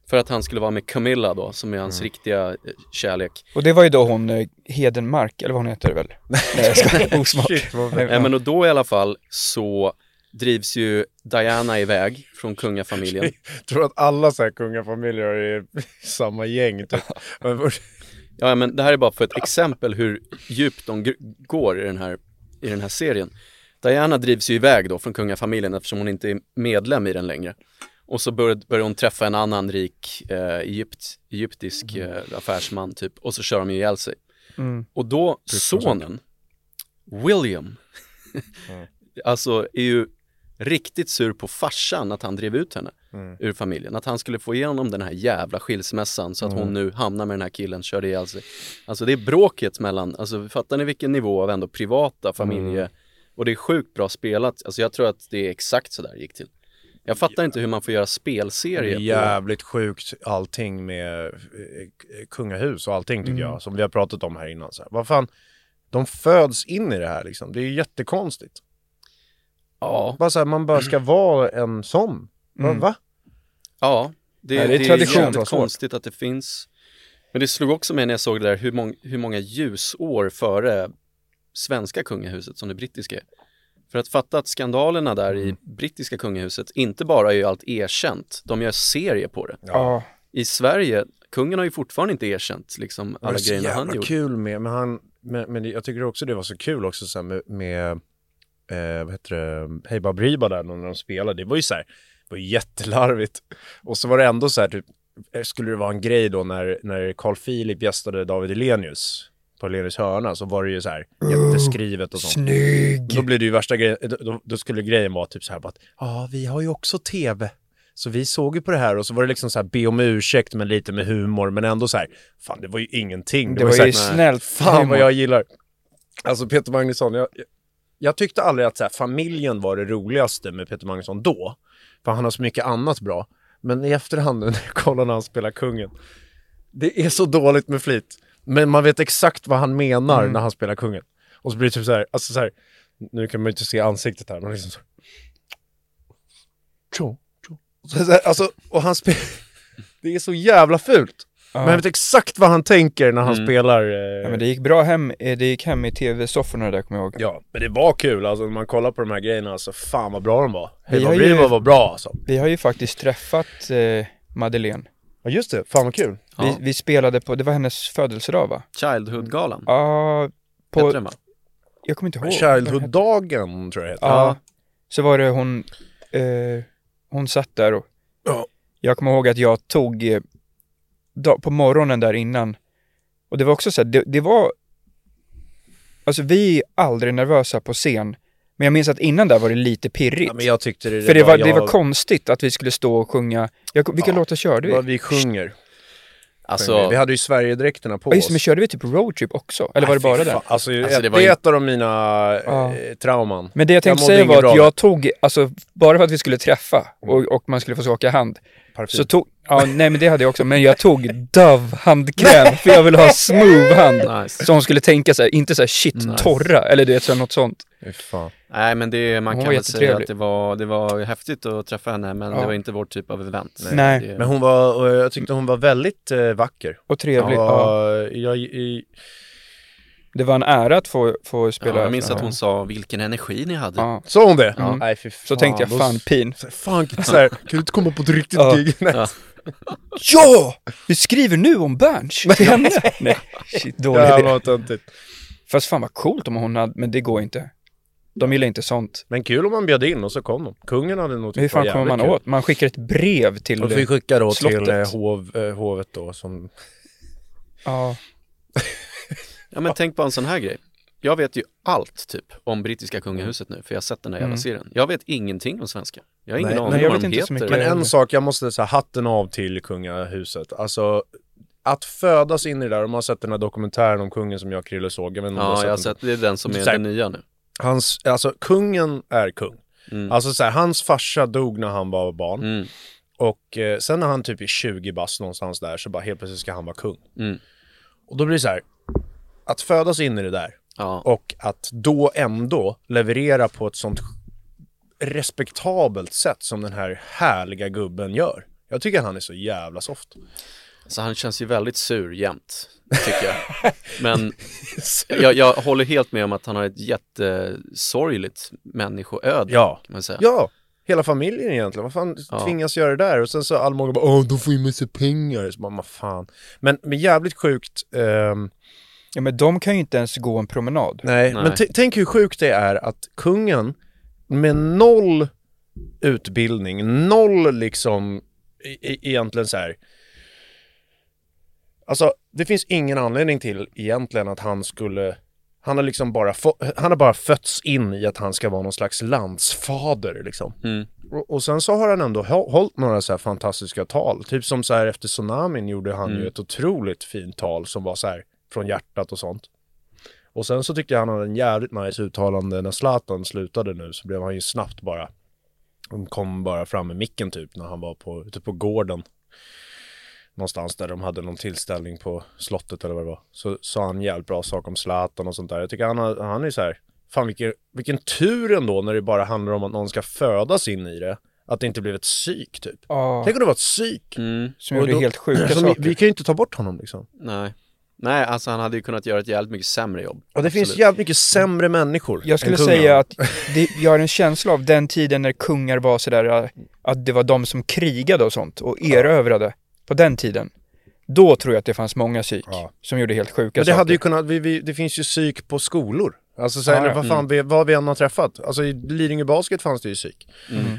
för att han skulle vara med Camilla då, som är hans riktiga eh, kärlek. Och det var ju då hon eh, Hedenmark, eller vad hon heter väl? Nej jag skojar, osmart. Shit, vad Nej, Nej, Eh, men och då i alla fall så drivs ju Diana iväg från kungafamiljen. tror att alla så här kungafamiljer är samma gäng typ. Men vår- Ja, men det här är bara för ett exempel hur djupt de gr- går i den här, i den här serien. Diana drivs ju iväg då från kungafamiljen eftersom hon inte är medlem i den längre. Och så bör, börjar hon träffa en annan rik eh, Egypt, egyptisk eh, affärsman typ och så kör de ju ihjäl sig. Och då sonen, William, alltså är ju riktigt sur på farsan att han drev ut henne ur familjen. Att han skulle få igenom den här jävla skilsmässan så att hon nu hamnar med den här killen, körde ihjäl sig. Alltså det är bråket mellan, alltså fattar ni vilken nivå av ändå privata familje och det är sjukt bra spelat. Alltså jag tror att det är exakt så där det gick till. Jag fattar inte hur man får göra spelserier på... Jävligt sjukt allting med eh, eh, kungahus och allting tycker jag, som vi har pratat om här innan. Så här. Vad fan, de föds in i det här liksom. Det är ju jättekonstigt. Ja, Bara så här, man bara ska vara en sån. Va? va? ja. Det, Nej, är det är det tradition, det är var jävligt svårt. konstigt att det finns. Men det slog också mig när jag såg det där hur, mång- hur många ljusår före svenska kungahuset som det brittiska är. För att fatta att skandalerna där i Mm. brittiska kungahuset, inte bara är ju allt erkänt, de gör serie på det. Ja, I Sverige, kungen har ju fortfarande inte erkänt liksom Det alla var så grejerna han jävla gjorde. kul med, men han, men, men jag tycker också det var så kul också så här med, med eh, vad heter det, Hej Baberiba där när de spelade, det var ju så här, det var ju jättelarvigt. Och så var det ändå så här typ, eh, skulle det vara en grej då när, när Carl Philip gästade David Hellenius på Hellenius hörna så var det ju så här jätteskrivet och sånt. snygg! Då blir det ju värsta grejen, då, då, då skulle grejen vara typ så här bara att ja, vi har ju också tv. Så vi såg ju på det här och så var det liksom så här be om ursäkt men lite med humor men ändå så här, fan det var ju ingenting. Det var ju så här, snällt. Fan vad humor. jag gillar. Alltså Peter Magnusson, jag, jag- jag tyckte aldrig att så här, familjen var det roligaste med Peter Magnusson då. För han har så mycket annat bra. Men i efterhand när jag kollar när han spelar kungen. Det är så dåligt med flit. Men man vet exakt vad han menar Mm. när han spelar kungen. Och så blir det typ så här, alltså så här, nu kan man ju inte se ansiktet här, men liksom så. Tjo, tjo. Så, så här, alltså, och han spelar, det är så jävla fult. Men jag vet exakt vad han tänker när han spelar. Eh, Ja, men det gick bra hem, eh, det gick hem i tv-sofforna där kommer jag ihåg. Ja, men det var kul alltså när man kollar på de här grejerna, alltså fan vad bra de var. Vi Hej har vad ju- ju... var bra alltså. Vi har ju faktiskt träffat eh, Madeleine. Ja just det, fan vad kul. Vi, Ja. vi spelade på, det var hennes födelsedag va? Childhood-galan, Ja, hette på, den va? jag kommer inte ihåg. Childhood-dagen tror jag det heter. Ja. Så var det hon, eh, hon satt där och Ja. jag kommer ihåg att jag tog eh, dag, på morgonen där innan och det var också så här, det, det var, alltså vi är aldrig nervösa på scen, men jag minns att innan där var det lite pirrigt. Ja, men jag tyckte det, För det var, jag, det var konstigt att vi skulle stå och sjunga, jag, vilka låtar körde vi? vad vi sjunger. Alltså, Vi hade ju Sverigedräkterna på Ja, just det, men oss. körde vi typ roadtrip också? Eller var det bara det? Fan, alltså, Alltså, det det, var ju- är ett av de mina Ja. eh, trauman. Men det jag tänkte mådde säga inget var bra att då. jag tog, alltså bara för att vi skulle träffa och, och man skulle få skaka hand, Parfym. så tog, ja nej men det hade jag också, men jag tog Dove-handkräm för jag ville ha smooth hand. nice. Så hon skulle tänka så här, inte så här shit torra, eller du vet så här, något sånt. Fy fan. Nej men det, man Hon kan var väl säga jättetrevlig. att det var, det var häftigt att träffa henne men Ja. det var inte vår typ av event. Nej. Det, Men hon var, och jag tyckte hon var väldigt eh, vacker. Och trevligt. Ja. Ja, jag, i, Det var en ära att få, få spela. ja, jag minns att hon sa vilken energi ni hade. Ja. sa hon det? Nej, fy fan. Mm. Så tänkte jag, då- fan pin. så här, Fan, så här, kan du inte komma på ett riktigt Ja. gig? Nej. Ja! Vi skriver nu om Berns till henne. nej, shit, dålig idé. Jävlar vad töntigt. Fast fan vad coolt om hon hade, men det går inte. De gillar inte sånt. Men kul om man bjöd in och så kom de. Kungen hade nog tyckt Hur det var fan kommer jävligt man kul. åt? Man skickar ett brev till... Då får vi skicka då till slottet. eh, hov, eh, hovet då som... Ja. Ja men tänk på en sån här grej. Jag vet ju allt typ om brittiska kungahuset nu för jag har sett den där jävla serien. Jag vet ingenting om svenska. Jag har ingen Nej, aning nej, om jag vad vet de inte så heter. mycket. Men Eh, en sak, jag måste säga hatten av till kungahuset. Alltså, att födas in i det där, om man har sett den här dokumentären om kungen som jag och Krille såg. Jag vet inte om du ja, jag den. har sett, det är den som är Så här- den nya nu. Hans, alltså kungen är kung. Alltså så här, hans farsa dog när han var barn. Mm. Och eh, sen när han typ är 20 bast någonstans där så bara helt plötsligt ska han vara kung. Mm. Och då blir det så här, att födas in i det där Ja. och att då ändå leverera på ett sånt respektabelt sätt som den här härliga gubben gör. Jag tycker han är så jävla soft. Så han känns ju väldigt sur jämt, tycker jag. Men jag, jag håller helt med om att han har ett jättesorgligt människoöde, Ja. kan man säga. Ja, hela familjen egentligen. Vad fan Ja. tvingas göra det där? Och sen så allmogen bara, åh, de får ju massa pengar. Så bara, "Men fan. Men, men jävligt sjukt. ehm, Ja men de kan ju inte ens gå en promenad. nej. Nej. men t- tänk hur sjukt det är att kungen med noll utbildning, noll liksom i, i, egentligen så här. Alltså, det finns ingen anledning till egentligen att han skulle han har liksom bara, få, han har bara fötts in i att han ska vara någon slags landsfader liksom. Mm. Och, och sen så har han ändå hå- hållit några så här fantastiska tal. Typ som så här efter tsunamin gjorde han Mm. ju ett otroligt fint tal som var så här från hjärtat och sånt. Och sen så tyckte jag han hade en jävligt nice uttalande när Zlatan slutade nu så blev han ju snabbt bara, han kom bara fram med micken typ när han var på, ute på gården. Någonstans där de hade någon tillställning på slottet eller vad det var. Så sa han jävligt bra saker om Zlatan och sånt där. Jag tycker han, har, han är så här, fan vilken, vilken tur ändå när det bara handlar om att någon ska födas in i det. Att det inte blev ett psyk typ. Ja, Tänk om det var ett psyk. Mm, som och gjorde då- helt sjuka Som vi, saker. vi kan ju inte ta bort honom liksom. nej. nej, alltså han hade ju kunnat göra ett jävligt mycket sämre jobb. Och det finns Absolut. jävligt mycket sämre människor Jag skulle säga att det, jag har en känsla av den tiden när kungar var sådär, äh, att det var de som krigade och sånt och erövrade på den tiden. Då tror jag att det fanns många psyk Ja. som gjorde helt sjuka Men det saker. hade ju kunnat, vi, vi, det finns ju psyk på skolor. Alltså så här, Ja, ja. vad fan, vi, vad vi än har träffat. Alltså i Lidingö Basket fanns det ju psyk.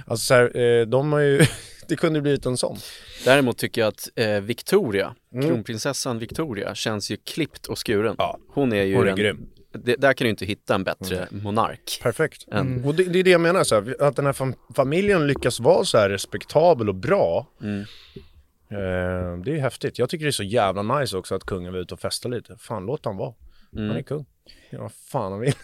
Alltså så här, eh, de har ju, det kunde ju blivit en sån. Däremot tycker jag att eh, Victoria, kronprinsessan Victoria, känns ju klippt och skuren. Mm. Ja. Hon är ju Hon är en, grym. Mm. Det, där kan du inte hitta en bättre monark. Perfekt. Mm. Och det, det är det jag menar, så här, att den här fam- familjen lyckas vara så här respektabel och bra. Eh, det är ju häftigt. Jag tycker det är så jävla nice också att kungen var ute och festade lite. Fan, låt han vara. Han är kung. Ja, vad fan han vill.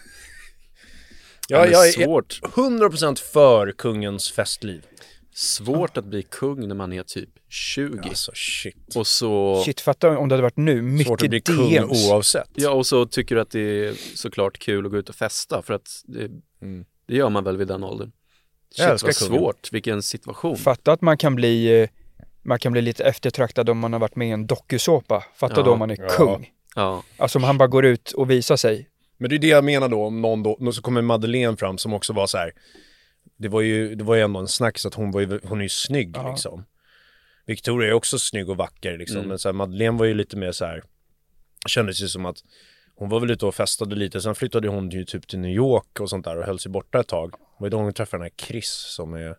Ja, Ja, men jag är svårt, 100% för kungens festliv. svårt att bli kung när man är typ 20. Alltså shit. Och så... Shit, fatta om det hade varit nu. Mycket Svårt att bli DMs. kung oavsett. Ja, och så tycker du att det är såklart kul att gå ut och festa för att det, det gör man väl vid den åldern. Mm. Jag Shit älskar vad kungen. svårt, vilken situation. Fatta att man kan bli, eh, man kan bli lite eftertraktad om man har varit med i en dokusåpa. Fatta Ja. då om man är Ja. kung. Ja, Alltså om han bara går ut och visar sig. Men det är det jag menar då, om någon då, så kommer Madeleine fram som också var så här. Det var ju, det var ju ändå en snack så att hon var ju, hon är ju snygg liksom. Victoria är också snygg och vacker liksom, men så här, Madeleine var ju lite mer så här, kändes ju som att hon var väl ute och festade lite, sen flyttade hon ju typ till New York och sånt där och höll sig borta ett tag. Det var ju då hon träffade den här Chris som är,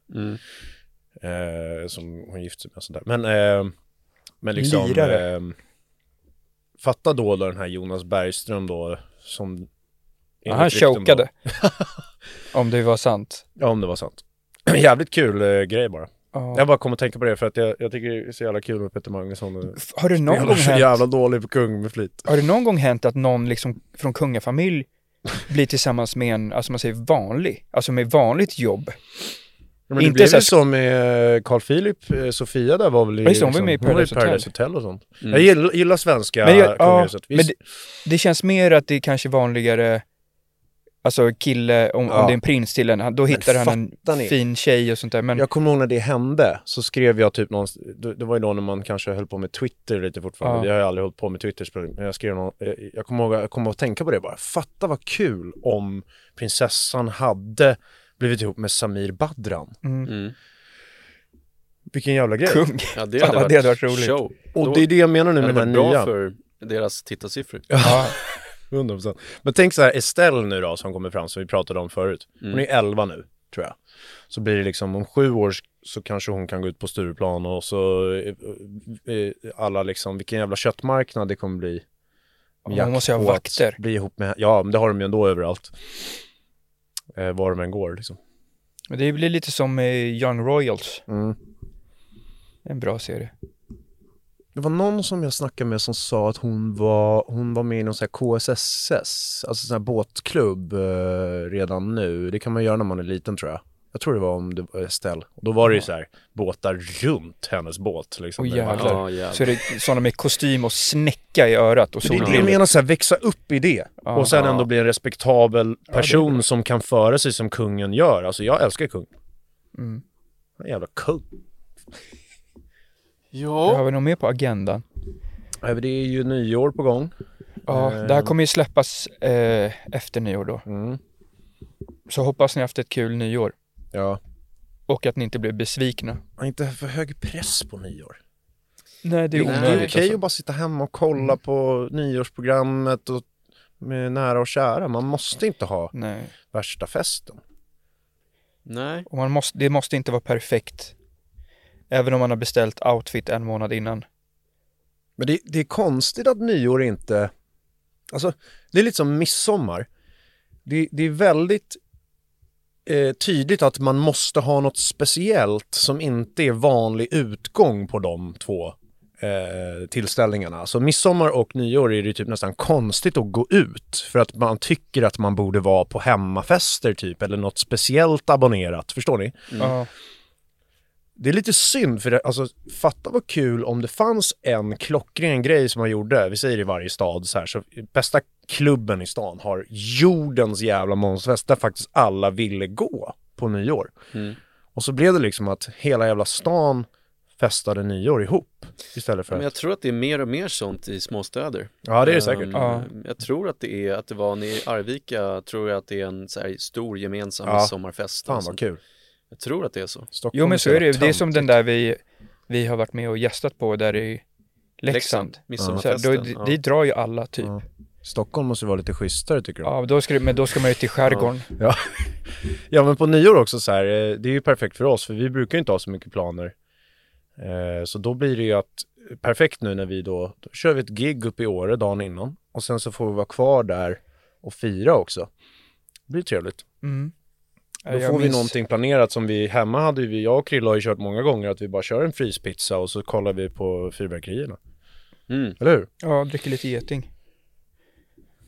eh, som hon gifte sig med och sånt där. Men, eh, men liksom... Lirare. ehm, fatta då då den här Jonas Bergström då, som... Ja, han enligt rykten då- chokade. om det var sant. Ja, om det var sant. Jävligt kul eh, grej bara. Ja. Jag bara kom att tänka på det för att jag, jag tycker det är så jävla kul med Peter Magnusson. och- F- Har det någon Han är gång så hänt? jävla dålig på kung med flit. Har det någon gång hänt att någon liksom från kungafamilj blir tillsammans med en, alltså man säger vanlig, alltså med vanligt jobb? Men det Inte blev så ju här- som med Carl Philip, eh, Sofia där var väl i, liksom- Ja, just det, hon var med i hon var Paradise Hotel. Mm. Paradise Hotel och sånt. Jag gillar, gillar svenska Men jag- ja, kungahuset. men Visst, Det känns mer att det är kanske vanligare, alltså kille, om, Ja. om det är en prins till en, han- då hittar han fattar en ni? fin tjej och sånt där. Men Jag kommer ihåg när det hände, så skrev jag typ någon, det det var ju då när man kanske höll på med Twitter lite fortfarande. Ja. Jag har ju aldrig hållit på med Twitter, men jag skrev någon, eh, jag kommer ihåg, jag kommer att tänka på det bara. Fatta vad kul om prinsessan hade blivit ihop med Samir Badran. Mm. Vilken jävla grej. kung, ja det, Fan, hade varit det hade varit roligt. show. Och Då- det är det jag menar nu det med hade den här varit bra nya. för deras tittarsiffror. 100%. Men tänk så här, Estelle nu då som kommer fram som vi pratade om förut. Mm. Hon är 11 nu, tror jag. Så blir det liksom om sju år så kanske hon kan gå ut på Stureplan och så eh, eh, alla liksom, vilken jävla köttmarknad det kommer bli. Ja, hon måste ju ha Jakt på att vakter. Bli ihop med, ja men det har de ju ändå överallt. Eh, var de än går liksom. Men det blir lite som eh, Young Royals. Mm. En bra serie. Det var någon som jag snackade med som sa att hon var, hon var med i någon sån här KSSS, alltså sån här båtklubb eh, redan nu. Det kan man göra när man är liten tror jag. Jag tror det var om det var Estelle. Och då var det ju så här båtar runt hennes båt liksom. Åh, Det var- jävlar. Ja, jävlar. Så är det sådana med kostym och snäcka i örat och Det är det jag solbrillor. menar, så här, växa upp i det. och sen ändå bli en respektabel person som kan föra sig som kungen gör. Alltså jag älskar kung. Mm. Jävla kung. Det Ja. har vi nog med på agendan. Ja, men Det är ju nyår på gång. Ja, det Ehm. här kommer ju släppas eh, efter nyår då. Mm. Så hoppas ni haft ett kul nyår Ja. och att ni inte blev besvikna. Inte för hög press på nyår. Nej, det är Det är okej onödigt. alltså. att bara sitta hemma och kolla på nyårsprogrammet och med nära och kära. Man måste inte ha Nej, värsta festen. Nej. och man måste, det måste inte vara perfekt. Även om man har beställt outfit en månad innan. Men det, det är konstigt att nyår inte... Alltså, det är lite som midsommar. Det, det är väldigt eh, tydligt att man måste ha något speciellt som inte är vanlig utgång på de två eh, tillställningarna. Alltså midsommar och nyår är det typ nästan konstigt att gå ut för att man tycker att man borde vara på hemmafester typ eller något speciellt abonnerat. Förstår ni? Ja, Det är lite synd, för det, alltså, fatta vad kul om det fanns en klockren grej som man gjorde, vi säger i varje stad så här, så bästa klubben i stan har jordens jävla monsterfest där faktiskt alla ville gå på nyår. Mm. Och så blev det liksom att hela jävla stan festade nyår ihop istället för Men att... jag tror att det är mer och mer sånt i småstäder. Ja, det är det säkert. Ehm, Ja. Jag tror att det är, att det var nere i Arvika, tror jag att det är en så här stor gemensam Ja. sommarfest. Fan och vad sånt. kul. Jag tror att det är så. Stockholm jo men så är det ju. Det är som tömt. den där vi, vi har varit med och gästat på där i Leksand. Så här, Midsommarfesten. då, ja. Dit drar ju alla typ. Ja, Stockholm måste vara lite schysstare tycker de. då ska, det- men då ska man ju till skärgården. Ja. ja, men på nyår också så här, eh, det är ju perfekt för oss för vi brukar ju inte ha så mycket planer. Eh, Så då blir det ju att, eh, perfekt nu när vi då, då kör vi ett gig upp i Åre dagen innan och sen så får vi vara kvar där och fira också. Det blir trevligt. Mm. Då får vi någonting planerat som vi hemma hade ju vi, jag och Krilla har ju kört många gånger att vi bara kör en fryspizza och så kollar vi på fyrverkerierna. Mm. Eller hur? Ja, dricker lite geting.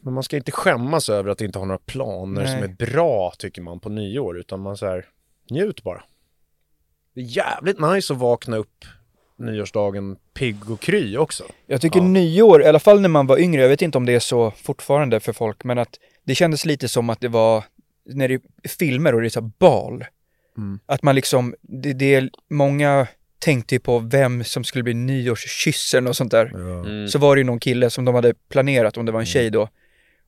Men man ska inte skämmas över att inte ha några planer Nej. som är bra tycker man på nyår utan man så här njut bara. Det är jävligt nice att vakna upp nyårsdagen pigg och kry också. Jag tycker nyår, i alla fall när man var yngre, jag vet inte om det är så fortfarande för folk, men att det kändes lite som att det var, när det är filmer och det är så här bal, att man liksom, det, det är många tänkte ju på vem som skulle bli nyårskyssen och sånt där. Mm. Så var det ju någon kille som de hade planerat, om det var en tjej då,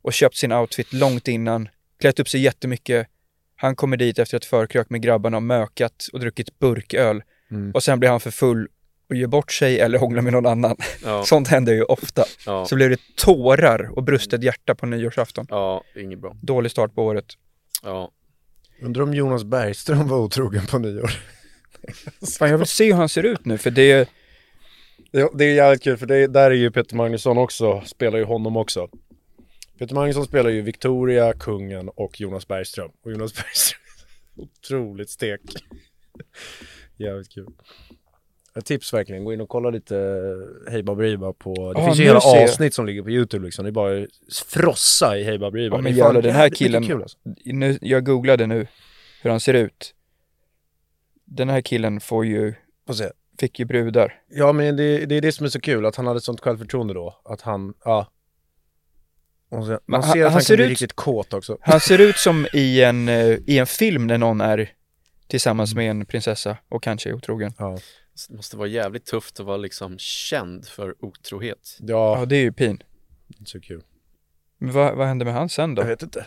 och köpt sin outfit långt innan, klätt upp sig jättemycket. Han kommer dit efter ett förkrök med grabbarna och mökat och druckit burköl. Mm. Och sen blir han för full och gör bort sig eller hånglar med någon annan. Ja. Sånt händer ju ofta. Ja. Så blev det tårar och brustet hjärta på nyårsafton. ja, inget bra. Dålig start på året. Ja. Undrar om Jonas Bergström var otrogen på nyår. Fan, jag vill se hur han ser ut nu för det... Ja, det är jävligt kul för det, där är ju Peter Magnusson också, spelar ju honom också. Peter Magnusson spelar ju Victoria, kungen och Jonas Bergström. Och Jonas Bergström är otroligt stek. Jävligt kul. Ett tips verkligen, gå in och kolla lite eh, Hej Baberiba på... Det Ja, finns ju nu hela ser jag. avsnitt som ligger på YouTube liksom. Det är bara frossa i Hej Baberiba. Ja, Det men är jävlar, fan den här jävligt mycket killen... Kul, alltså. nu, jag googlade nu hur han ser ut. Den här killen får ju, Får se. fick ju brudar. Ja men det, det är det som är så kul, att han hade sånt självförtroende då. Att han, ja. Och så, man han- ser att han han ser kan bli ut- riktigt kåt också. Han ser ut som i en, eh, i en film när någon är tillsammans med en prinsessa och kanske är otrogen. Ja. Så Det måste vara jävligt tufft att vara liksom känd för otrohet. Ja, Ja, det är ju pin. inte så kul. Men vad, vad hände med han sen då? vet inte.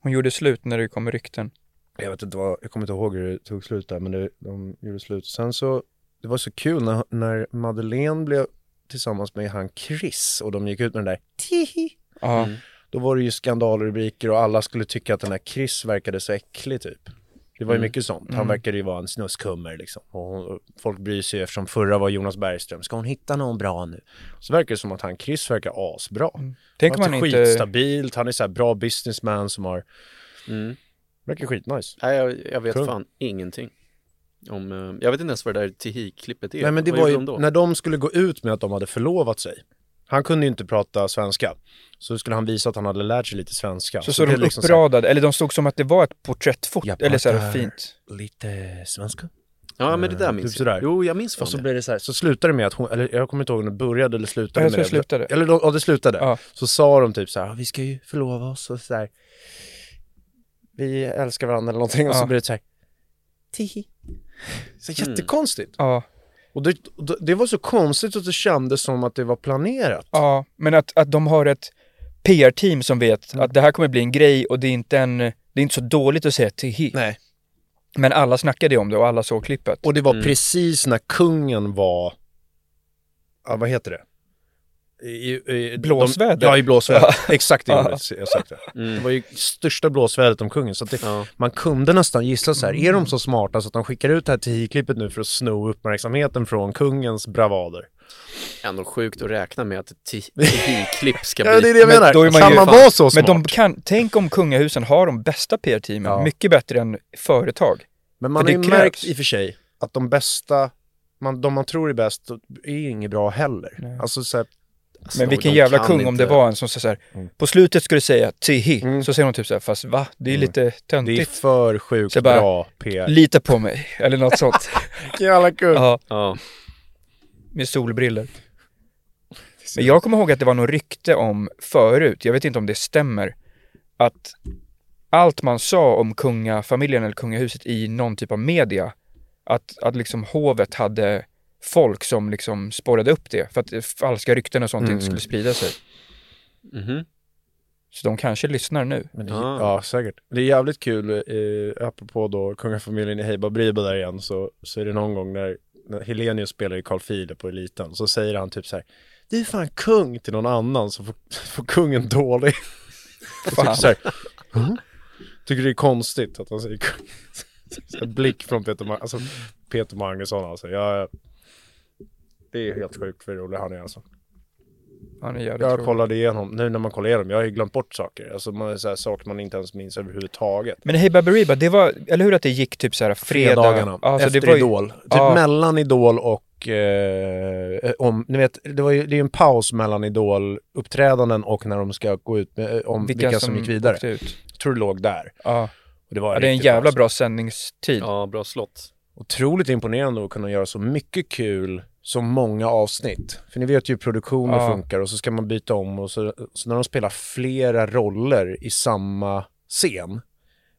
Hon gjorde slut när det kom rykten. Jag vet inte vad, jag kommer inte ihåg hur det tog slut där, men det, de gjorde slut. Sen så, det var så kul när, när Madeleine blev tillsammans med han Chris och de gick ut med den där tihi. Ja. Då var det ju skandalrubriker och alla skulle tycka att den här Chris verkade så äcklig typ. Det var Mm. ju mycket sånt. Han verkade ju vara en snuskummer liksom. Och hon, folk bryr sig eftersom förra var Jonas Bergström. Ska hon hitta någon bra nu? Så verkar det som att han Chris verkar asbra. Mm. Tänk om han han är inte... skitstabilt, han är så här bra businessman som har... Mm. Verkar skitnice. Nej, jag, jag vet Kung. fan ingenting. Om, eh, jag vet inte ens vad det där Tihi-klippet är. Nej men det Vad var gjorde ju de då? när de skulle gå ut med att de hade förlovat sig. Han kunde ju inte prata svenska. Så skulle han visa att han hade lärt sig lite svenska. Så såg de blev det liksom så här, uppradade, eller de såg som att det var ett porträttfoto, Jag eller så här pratar- fint. Lite svenska? Ja, men det där Eh, minns typ jag. sådär. Jo, jag minns Och så fan det. blir det så här, så slutade det med att hon, eller jag kommer inte ihåg om det började eller slutade Ja, jag med tror det. det slutade. Eller då- ja, det slutade. Ja. Så sa de typ så här, "Ah, vi ska ju förlova oss och så här. Vi älskar varandra eller någonting och Ja. så Mm. blir det så här. Tihi. Så jättekonstigt. Ja, Och det, och det- det var så konstigt att det kändes som att det var planerat. ja. Men att, att de har ett PR-team som vet Mm. att det här kommer bli en grej och det är inte en, det är inte så dåligt att säga till Nej. Men alla snackade ju om det och alla såg klippet. Och det var precis när kungen var, ja vad heter det? I, i, Blåsväder. De, ja, i blåsväder. Exakt det Ja. ordet jag sökte. Det var ju största blåsvädret om kungen. Så att det, Ja. man kunde nästan gissa så här, är de så smarta så att de skickar ut det här TI-klippet nu för att sno uppmärksamheten från kungens bravader? Ändå sjukt att räkna med att ett ti- TI-klipp ska bli... Men då är man kan ju- man fan- vara så smart? Men de kan, tänk om kungahusen har de bästa PR-teamen, Ja. mycket bättre än företag. Men man för har det ju krävs. märkt i och för sig att de bästa, man, de man tror är bäst, är ju inget bra heller. Alltså så här, Alltså, Men vilken de jävla kan kung om det inte- var en som sa så här, Mm. på slutet skulle säga tihi, så säger hon typ så här, fast va? Det är lite Mm. det är töntigt. för sjukt Så bara- bra PR. Lita på mig, eller något sånt. Jävla kung! ja, Ja. med solbriller. Men jag kommer ihåg att det var något rykte om förut, jag vet inte om det stämmer, att allt man sa om kungafamiljen eller kungahuset i någon typ av media, att, att liksom hovet hade folk som liksom spårade upp det för att eh, falska rykten och sånt Mm. inte skulle sprida sig. Mhm. Så de kanske lyssnar nu. Men det, Ah. Ja, säkert. Det är jävligt kul, eh, apropå då kungafamiljen i Hej Baberiba där igen, så, så är det någon gång när, när Helenius spelar i Carl Philip på Eliten, så säger han typ så här, du är fan kung till någon annan, så får, får kungen dålig. Och tycker typ så här, "Mm." Tycker det är konstigt att han säger kung. Så här blick från Peter, Ma- alltså, Peter Magnusson alltså. Jag, det är helt sjukt för rolig han är alltså. Han är jävligt Jag rolig. kollade igenom, nu när man kollar igenom, jag har ju glömt bort saker. Alltså man, så här, saker man inte ens minns överhuvudtaget. Men Hey Baberiba, det var, eller hur att det gick typ så här fredag? Fredagarna, Ja, efter så alltså, det var ju, Idol. Typ ja. mellan Idol och, eh, om, ni vet, det, var ju, det är ju en paus mellan Idol-uppträdanden och när de ska gå ut med, eh, om vilka, som, gick vidare. åkte Ut. Jag tror det låg där. Ja. Och det var ja, det är en riktigt jävla paus. bra sändningstid. ja, bra slott. Otroligt imponerande att kunna göra så mycket kul så många avsnitt. För ni vet ju hur produktioner Ja. funkar och så ska man byta om och så, så när de spelar flera roller i samma scen,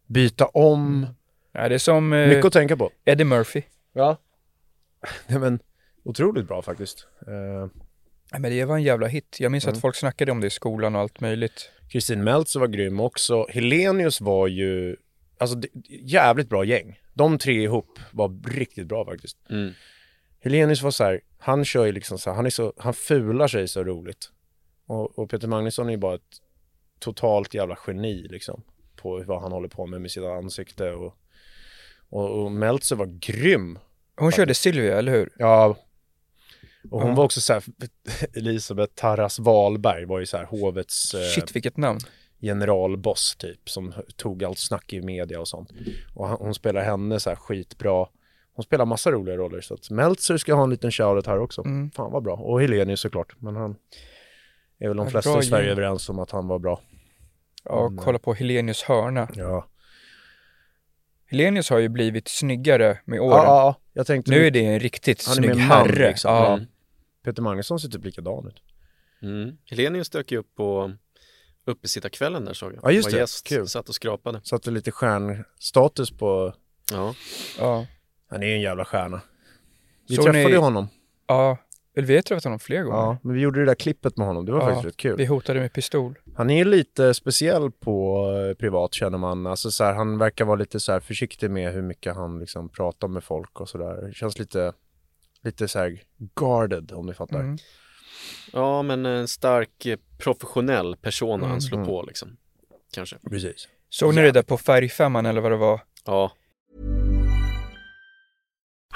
byta om, Ja, det är som eh, mycket att tänka på. Eddie Murphy. Ja. Nej men, otroligt bra faktiskt. Eh, Ja, men det var en jävla hit. Jag minns att folk snackade om det i skolan och allt möjligt. Kristin Meltzer var grym också. Helenius var ju, alltså det- jävligt bra gäng. De tre ihop var riktigt bra faktiskt. Mm. Helenius var så här, han kör ju liksom så här, han, är så, han fular sig så roligt. Och, och Peter Magnusson är ju bara ett totalt jävla geni liksom. På vad han håller på med med sitt ansikte och, och, och Meltzer var grym. Hon körde Sylvia, eller hur? Ja. Och hon Ja. var också så här, Elisabeth Tarras Wahlberg var ju så här hovets... eh, Shit, vilket namn. generalboss typ som tog allt snack i media och sånt. Och han, hon spelar henne så här skitbra. Hon spelar massa roliga roller så att Meltzer ska ha en liten shoutout här också. Mm. Fan vad bra. Och Helenius såklart. Men han är väl de Ja, flesta bra i Sverige gäng. överens om att han var bra. Ja, och kolla på Helenius hörna. Ja. Helenius har ju blivit snyggare med Ja, åren. ja, ja. jag tänkte Nu är det en riktigt Han är snygg mer man, herre. liksom. Ja. Mm. Peter Magnusson ser typ likadan ut. Mm. Helenius dök ju upp på uppesittarkvällen där såg jag. Ja, just Var det. Gäst, Kul. Satt och skrapade. Satte lite stjärnstatus på... Ja. Ja. Han är ju en jävla stjärna. Vi Så träffade ni- ju honom. ja. Eller vi har träffat honom fler gånger. Ja, men vi gjorde det där klippet med honom. Det var Ja, faktiskt rätt kul. Vi hotade med pistol. Han är ju lite speciell på eh, privat känner man. Alltså så här, han verkar vara lite så här försiktig med hur mycket han liksom pratar med folk och sådär. Känns lite, lite så här guarded om ni fattar. Mm. ja, men en stark eh, professionell persona han slår på liksom. Kanske. Precis. Såg ni det där på Färgfemman eller vad det var? Ja,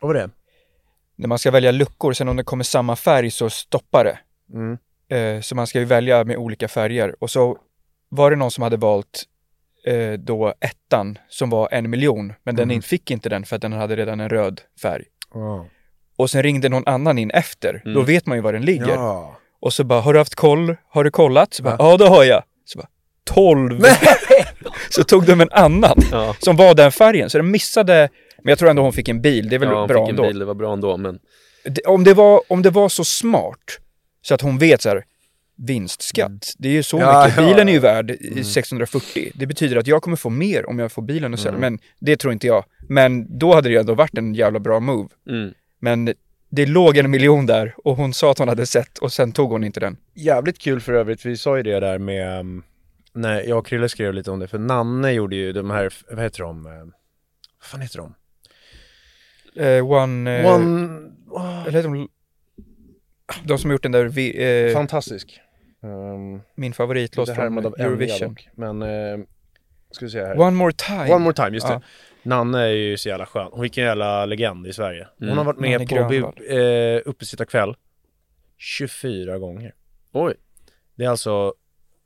Vad var det? När man ska välja luckor, sen om det kommer samma färg så stoppar det. Mm. Eh, så man ska ju välja med olika färger. Och så var det någon som hade valt eh, då ettan som var en miljon, men Mm. den in- fick inte den för att den hade redan en röd färg. Ja. Och sen ringde någon annan in efter, då Mm. vet man ju var den ligger. ja. Och så bara, har du haft koll? Har du kollat? Så bara, ja det har jag. Så bara, 12! så tog de en annan Ja. som var den färgen, så den missade, men jag tror ändå hon fick en bil, det är väl Ja, han bra fick en ändå. bil, det var bra ändå, men Det- Om, det var, om det var så smart, så att hon vet så här, vinstskatt, det är ju så Mm. Ja, mycket, ja, Mm. bilen är ju värd i 640, det betyder att jag kommer få mer om jag får bilen Mm. och sälja, men det tror inte jag. Men då hade det ju ändå varit en jävla bra move. mm. Men det låg en miljon där och hon sa att hon hade sett och sen tog hon inte den. Jävligt kul för övrigt, vi sa ju det där med... ehm, Nej, jag och Krille skrev lite om det, för Nanne gjorde ju de här, vad heter de? ehm, Vad fan heter de? Eh, one... eh, One... åh, Eller heter de... De som har gjort den där, vi, eh, Fantastisk. Ehm, min Låt favoritlåt det här från med av Eurovision. Eurovision. Dock. Men, eh, ska vi se här. One, One more time. more time, just Ja. det. Nanne är ju så jävla skön. Hon gick en jävla legend i Sverige. Hon har varit med Mm. Nanne på Grönvall. bu- eh, Uppesittarkväll 24 gånger. oj. Det är alltså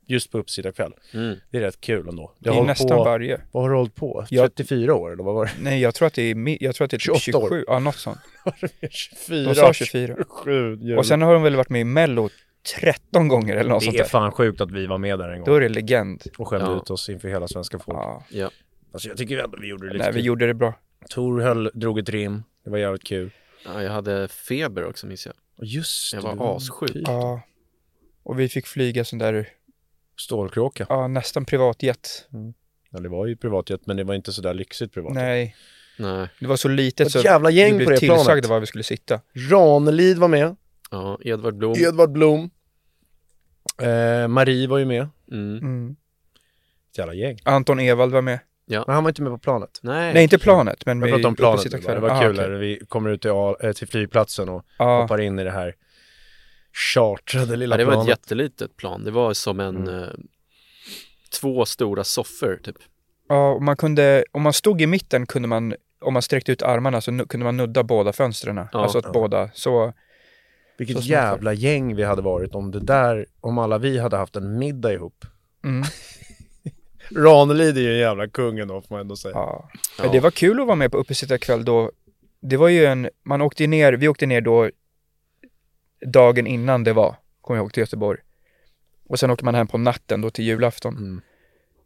just på Uppesittarkväll. Mm. Det är rätt kul ändå. Det Det är hållit nästan på, varje. Vad har du hållit på? Ja. 34 år eller vad var det? Nej, jag tror att det är, mi- jag tror att det är typ 28 år. 27. Ja, något sånt. 24, De sa 24. 27 jävlar. Och sen har de väl varit med i Mello 13 gånger eller något sånt Det är där. fan sjukt att vi var med där en Då gång är det legend. och skämde Ja. ut oss inför hela svenska folket. Ja. Alltså jag tycker ju ändå vi gjorde det lite Nej, vi kul. gjorde det bra. Tor höll, drog ett rim, det var jävligt kul. Ja, jag hade feber också minns jag. Och Just Jag det, du var assjuk. Ja. Och vi fick flyga sån där, Stålkråka. ja, nästan privatjet. Ja, det var ju privatjet, men det var inte sådär lyxigt privatjet. Nej, Nej. det var så Ett litet så jävla vi gäng på blev det planet. tillsagda var vi skulle sitta. Ranelid var med, Ja, Edvard Blom. Edvard Blom, eh, Marie var ju med. Mm. Mm. Ett jävla gäng. Anton Ewald var med. Men han var inte med på planet. Nej. Nej, inte planet, men Jag pratade om planet, det var, det var Ah, kul okej. när vi kommer ut till, A- eh, till flygplatsen och Ja. hoppar in i det här chartrade lilla Ja, det var ett planet. jättelitet plan. Det var som en... Eh, två stora soffor, typ. Ja, och man kunde, om man stod i mitten kunde man, om man sträckte ut armarna så nu, kunde man nudda båda fönstren. alltså att båda, så, Vilket så smart jävla gäng vi hade varit om det där, om alla vi hade haft en middag ihop. mm, Ranelid är ju en jävla kungen då, får man ändå säga. ja. Men det var kul att vara med på uppesittarkväll då. Det var ju en, man åkte ju ner, vi åkte ner då dagen innan det var, kommer jag ihåg, till Göteborg. Och sen åker man hem på natten då till julafton. Mm.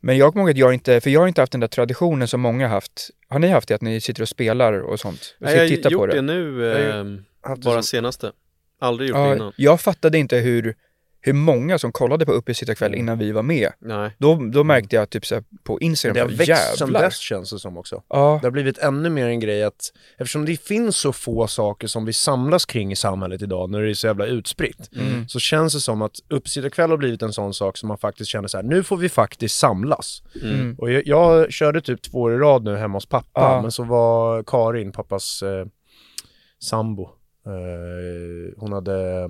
Men jag kommer ihåg att jag inte, för jag har inte haft den där traditionen som många har haft. Har ni haft det, att ni sitter och spelar och sånt? Och Nej, jag sitter och tittar har gjort på det, nu, Jag har eh, haft det bara som- senaste. Aldrig gjort det Ja, innan. jag fattade inte hur, hur många som kollade på Uppesittarkväll Mm. innan vi var med. Nej. Då, då märkte jag typ så här, på Instagram, Det har bara, växt sen jävlar. dess känns det som också. Ja, Det har blivit ännu mer en grej att, eftersom det finns så få saker som vi samlas kring i samhället idag, när det är så jävla utspritt, Mm. så känns det som att uppesittarkväll har blivit en sån sak som man faktiskt känner så här: nu får vi faktiskt samlas. Mm. Och jag, jag körde typ två år i rad nu hemma hos pappa, Ja. men så var Karin, pappas eh, sambo, eh, hon hade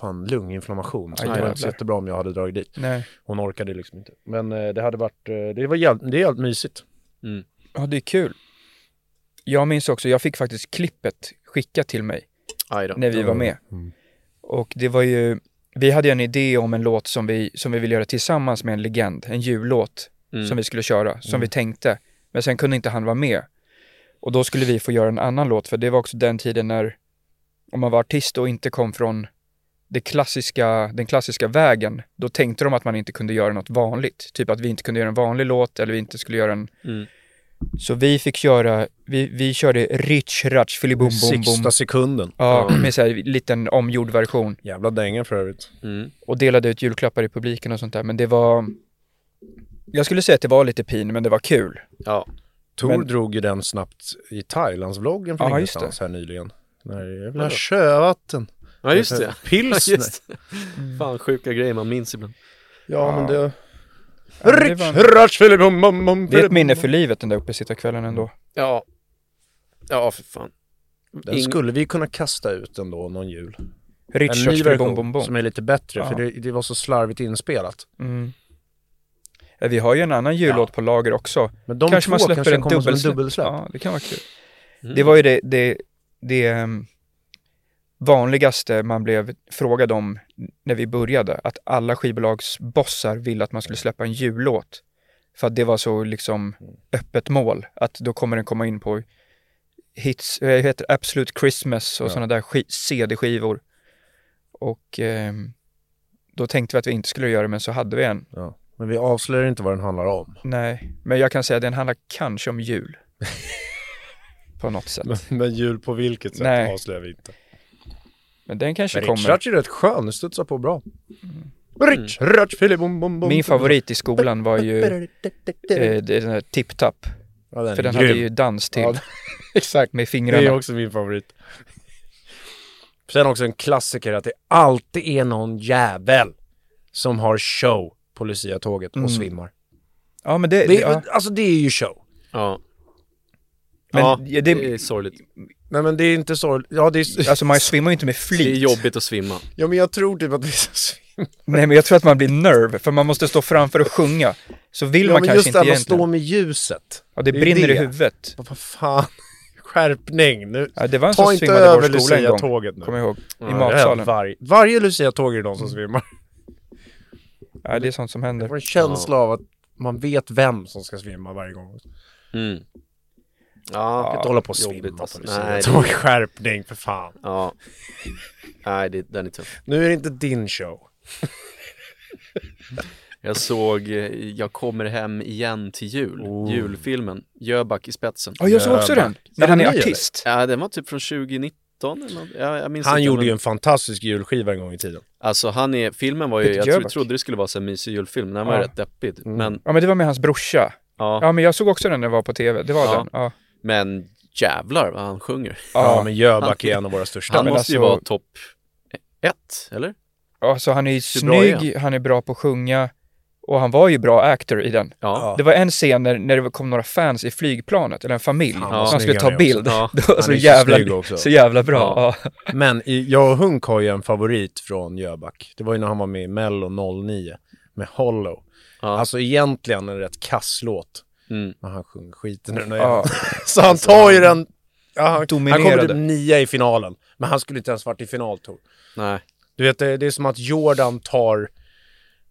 fan lunginflammation, så Aj, det var inte så jävlar. jättebra om jag hade dragit dit. nej. Hon orkade liksom inte. Men eh, det hade varit, eh, det var jävligt, det är jävligt mysigt. Ja, det är kul. Jag minns också, jag fick faktiskt klippet skickat till mig Aj då. när vi var med. Och det var ju, vi hade ju en idé om en låt som vi, som vi ville göra tillsammans med en legend, en jullåt som vi skulle köra, som vi tänkte. Men sen kunde inte han vara med. Och då skulle vi få göra en annan låt, för det var också den tiden när, om man var artist och inte kom från det klassiska, den klassiska vägen, då tänkte de att man inte kunde göra något vanligt. Typ att vi inte kunde göra en vanlig låt eller vi inte skulle göra en, Så vi fick köra, vi, vi körde Rich Ratch Filibom Bom Bom. Sista sekunden. Ja, med så här liten omgjord version. Jävla dänga för övrigt. Mm. Och delade ut julklappar i publiken och sånt där. Men det var... Jag skulle säga att det var lite pin, men det var kul. Ja. Tor Men- drog ju den snabbt i Thailandsvloggen från Ja, just ingenstans här nyligen. När det är jävla sjövatten. ja, just det. Pilsner. Ja, just det. Fan, sjuka grejer man minns ibland. Ja, men det... Ja, men det, var, det är Det ett minne för livet den där uppesittarkvällen ändå. Ja. Ja, för fan. Den skulle vi kunna kasta ut ändå någon jul. Rich en ny Ratch Filibom Bom version Bom. som är lite bättre, Ja. för det, det var så slarvigt inspelat. Mm. Ja, Vi har ju en annan jullåt på lager också. Men de två kanske kommer som en dubbelsläpp. Ja, det kan vara kul. Det var ju det, det, det ehm, vanligaste man blev frågad om när vi började, att alla skivbolagsbossar ville att man skulle släppa en jullåt. För att det var så liksom öppet mål, att då kommer den komma in på hits, eh, heter det? Absolute Christmas och sådana där sk- CD-skivor. Och ehm, då tänkte vi att vi inte skulle göra det, men så hade vi en. Ja. Men vi avslöjar inte vad den handlar om. Nej, men jag kan säga att den handlar kanske om jul. på något sätt. Men jul på vilket sätt Nej. avslöjar vi inte. Men den kanske Men kommer. Richard är rätt skön, den studsar på bra. Mm. Richard, filibom, bom, bom. Min favorit i skolan var ju eh, den där Tip Tap. Ja, den För är den grym. hade ju dans till Ja, Exakt. med Det är fingrarna. också min favorit. Sen också en klassiker att det alltid är någon jävel som har show på Lucia-tåget och svimmar. Ja, men det, Det, är- Mm. ja. Alltså det är ju show. Ja. Men ja, ja, det det- är sorgligt. Nej men det är inte så, ja det är... Alltså man svimmar ju inte med flit. Det är jobbigt att svimma. Ja men jag tror typ att vissa svimmar. Nej, men jag tror att man blir nerv, för man måste stå framför och sjunga. Så vill Ja man men kanske just det inte här med att egentligen. stå med ljuset. Ja, det är ju brinner i det. huvudet. Vad fan, skärpning nu. Ja, det var en Ta som inte svimmade i över vår skola en gång, Lucia-tåget nu. kommer jag ihåg. I Ja, matsalen. Mm. Varje, varje Lucia-tåg är det någon som svimmar. Ja, det är sånt som händer. Man får en känsla av att man vet vem som ska svimma varje gång. Mm. Ja, Kan inte hålla på och svimma jobbigt, alltså. på Nej, Lucia-tåg. Skärpning för fan. Ja. Nej, det, den är tuff. Nu är det inte din show. Jag såg eh, Jag kommer hem igen till jul, julfilmen, Jöback i spetsen. Ja, jag såg också den. När den han är ny, eller? artist. Ja, den var typ från 2019 eller något. ja, jag minns Han inte, gjorde men- ju en fantastisk julskiva en gång i tiden. Alltså han är, filmen var ju, Peter jag tro, Jöback. trodde det skulle vara så en mysig julfilm, men den var Ja. ju rätt deppig. Mm. Men, Ja, men det var med hans brorsa. ja, Ja, men jag såg också den när jag var på tv. Det var Ja. den. Ja. men jävlar vad han sjunger. Ja, Ja, men Jöback är en av våra största. Han men måste ju alltså- vara topp ett, eller? Alltså, han är ju Hur bra är snygg, han är bra på att sjunga och han var ju bra actor i den. Ja. Det var en scen när, när det kom några fans i flygplanet, eller en familj, vad som snygg skulle ta han är bild. också. Ja. Det var är så så snygg jävla, också. så, jävla bra. Ja. Men i, jag och Hunk har ju en favorit från Jöback. Det var ju när han var med i Mello 09 med Hollow. Ja. Alltså egentligen en rätt kass låt. Mm. Alltså, Men han sjunger skiten ur den. Ja. Så han tar ju den... Ja, han, han kommer Dominerade. typ nia i finalen. Men han skulle inte ens varit i final, Tor. Nej. Du vet, det det är som att Jordan tar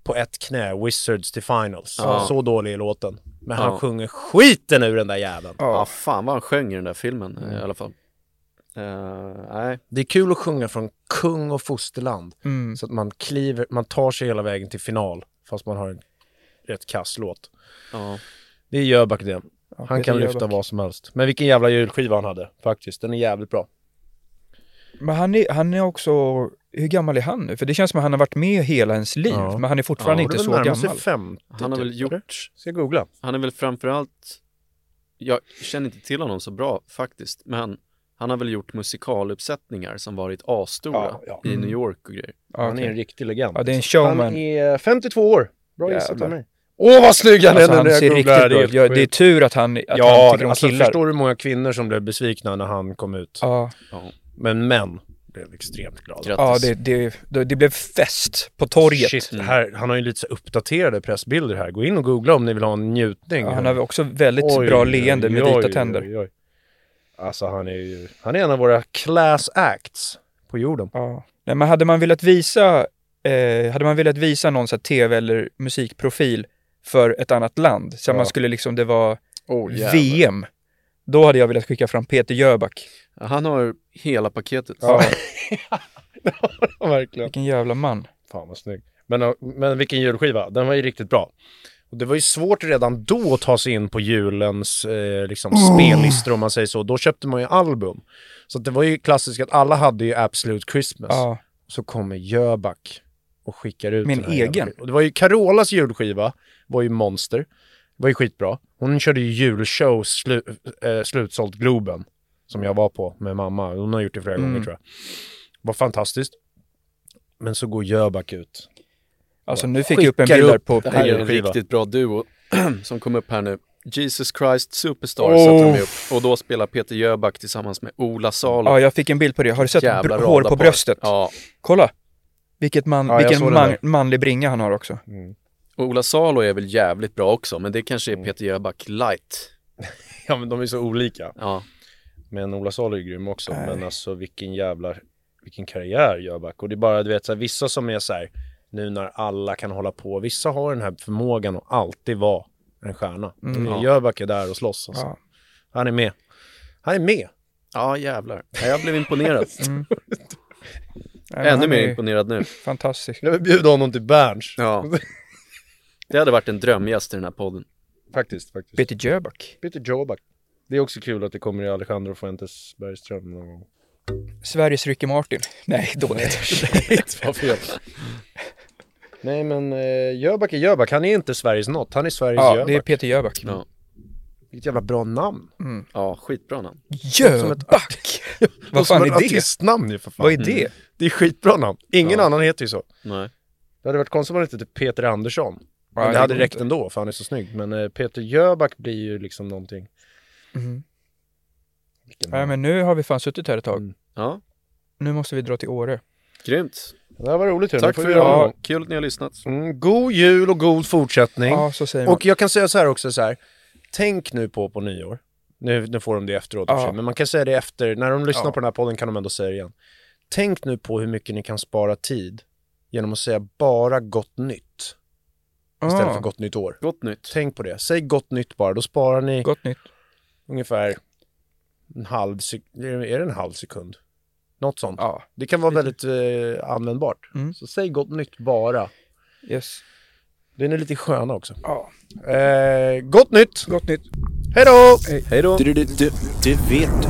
på ett knä Wizards till finals. Ja. Så dålig är låten. Men Ja. han sjunger skiten ur den där jäveln. Ja, fan vad han sjöng i den där filmen eh, i alla fall. Eh, nej, Mm. Det är kul att sjunga från kung och fosterland. Mm. Så att man kliver, man tar sig hela vägen till final. Fast man har en rätt kass låt. ja. Det är Jöback det. Han det kan är lyfta Jöback. vad som helst. Men vilken jävla julskiva han hade faktiskt. Den är jävligt bra. Men han är, han är också, hur gammal är han nu? För det känns som att han har varit med hela ens liv, Ja. men han är fortfarande Ja, inte Han så närmar sig gammal. 50 Han har typ, väl eller? gjort, Ska jag googla? han är väl framförallt, jag känner inte till honom så bra faktiskt, men han har väl gjort musikaluppsättningar som varit asstora Ja, ja. Mm. i New York och grejer. Ja, Han okej. är en riktig legend. alltså. ja, det är en showman. Han är 52 år. Bra gissat Jävlar. av mig. Åh vad snygg han är alltså, nu han när jag ser googlar. riktigt bra ut. Ja, helt Det är sjukt. tur att han, att han Ja, tycker om alltså killar. förstår du hur många kvinnor som blev besvikna när han kom ut? Ja. Men män blev extremt glada. Grattis. Ja, det, det, det, det blev fest på torget. Shit, här, han har ju lite så uppdaterade pressbilder här. Gå in och googla om ni vill ha en njutning. Ja, han har också väldigt bra leende med oj, vita oj, tänder. oj, oj. Alltså han är ju, han är en av våra class acts på jorden. Ja. Nej, men hade man velat visa, eh, hade man velat visa någon så här tv eller musikprofil för ett annat land, så att Ja. man skulle liksom, det var Oh, VM, då hade jag velat skicka fram Peter Jöback. Han har hela paketet. Ja. Verkligen. Vilken jävla man. Fan vad snygg. Men, men vilken julskiva, den var ju riktigt bra. Och det var ju svårt redan då att ta sig in på julens eh, liksom, spellistor om man säger så. Då köpte man ju album. Så att det var ju klassiskt att alla hade ju Absolute Christmas. Ja. Så kommer Jöback och skickar ut Min den här egen. jävla- Och det var ju Carolas julskiva, var ju Monster. Det var ju skitbra. Hon körde ju julshow, slu, eh, slutsålt Globen. Som jag var på med mamma. Hon har gjort det flera Mm. gånger tror jag. Var fantastiskt. Men så går Jöback ut. Alltså nu fick jag upp en Skickar bild där upp på... Det här är en Skiva. riktigt bra duo som kom upp här nu. Jesus Christ Superstar satte de Oh. upp och då spelar Peter Jöback tillsammans med Ola Salo. Ja, jag fick en bild på det. Har du sett Jävla br- hår på radarpar. bröstet? Ja, Kolla! Vilket man, Ja, jag såg vilken den Mm. man, där. manlig bringa han har också. och Ola Salo är väl jävligt bra också, men det kanske är Mm. Peter Jöback light. Ja men de är så olika. Ja, Men Ola Salo är grym också. Men alltså vilken jävla, vilken karriär Jöback. Och det är bara, du vet, så här, vissa som är så här, nu när alla kan hålla på, vissa har den här förmågan att alltid vara en stjärna. Mm. Jöback är där och slåss alltså. Ja. Han är med. Han är med. ja jävlar. Ja, jag blev imponerad. Nej, men Ännu han mer är ju imponerad nu. Fantastisk. Jag vill bjuda honom till Berns. Ja. Det hade varit en drömgäst i den här podden. Faktiskt, faktiskt. Peter Jöback. Peter Jöback. Det är också kul att det kommer i Alejandro Fuentes Bergström någon gång. Sveriges Ricky Martin. Nej, dåligt. Shit, vad fel. Nej men eh, Jöback är Jöback, han är inte Sveriges något, han är Sveriges ja, Jöback. det är Peter Jöback. Ja, Vilket jävla bra namn. ja skitbra namn. Jöback! Vad fan är det? artistnamn ju för fan. Mm. Vad är det? Det är skitbra namn. Ingen annan heter ju så. Nej. Det hade varit konstigt om han hette typ Peter Andersson. Ja, Men det det hade går räckt inte. ändå, för han är så snygg. Men eh, Peter Jöback blir ju liksom någonting. Vilken Nej, men nu har vi fan suttit här ett tag. Mm. Ja, Nu måste vi dra till Åre. grymt. Det här var roligt. Tack Tack får för vi göra någon idag. gång. Kul att ni har lyssnat. Mm, god jul och god fortsättning. Ja, så säger man. Och jag kan säga så här också så här. Tänk nu på på nyår. Nu, nu får de det efteråt i och för Ja. sig, men man kan säga det efter. När de lyssnar på den här podden kan de ändå säga det igen. Tänk nu på hur mycket ni kan spara tid genom att säga bara gott nytt istället Ah, för gott nytt år. Gott nytt. Tänk på det. Säg gott nytt bara, då sparar ni gott nytt. ungefär en halv sekund. Är det en halv sekund? Något sånt. Ja, Det kan vara väldigt eh, användbart. Så säg gott nytt bara. yes. Den är lite sköna också. Ja, Eh, gott nytt! gott nytt. Hej då! Hej då. Du, du, du, du vet du.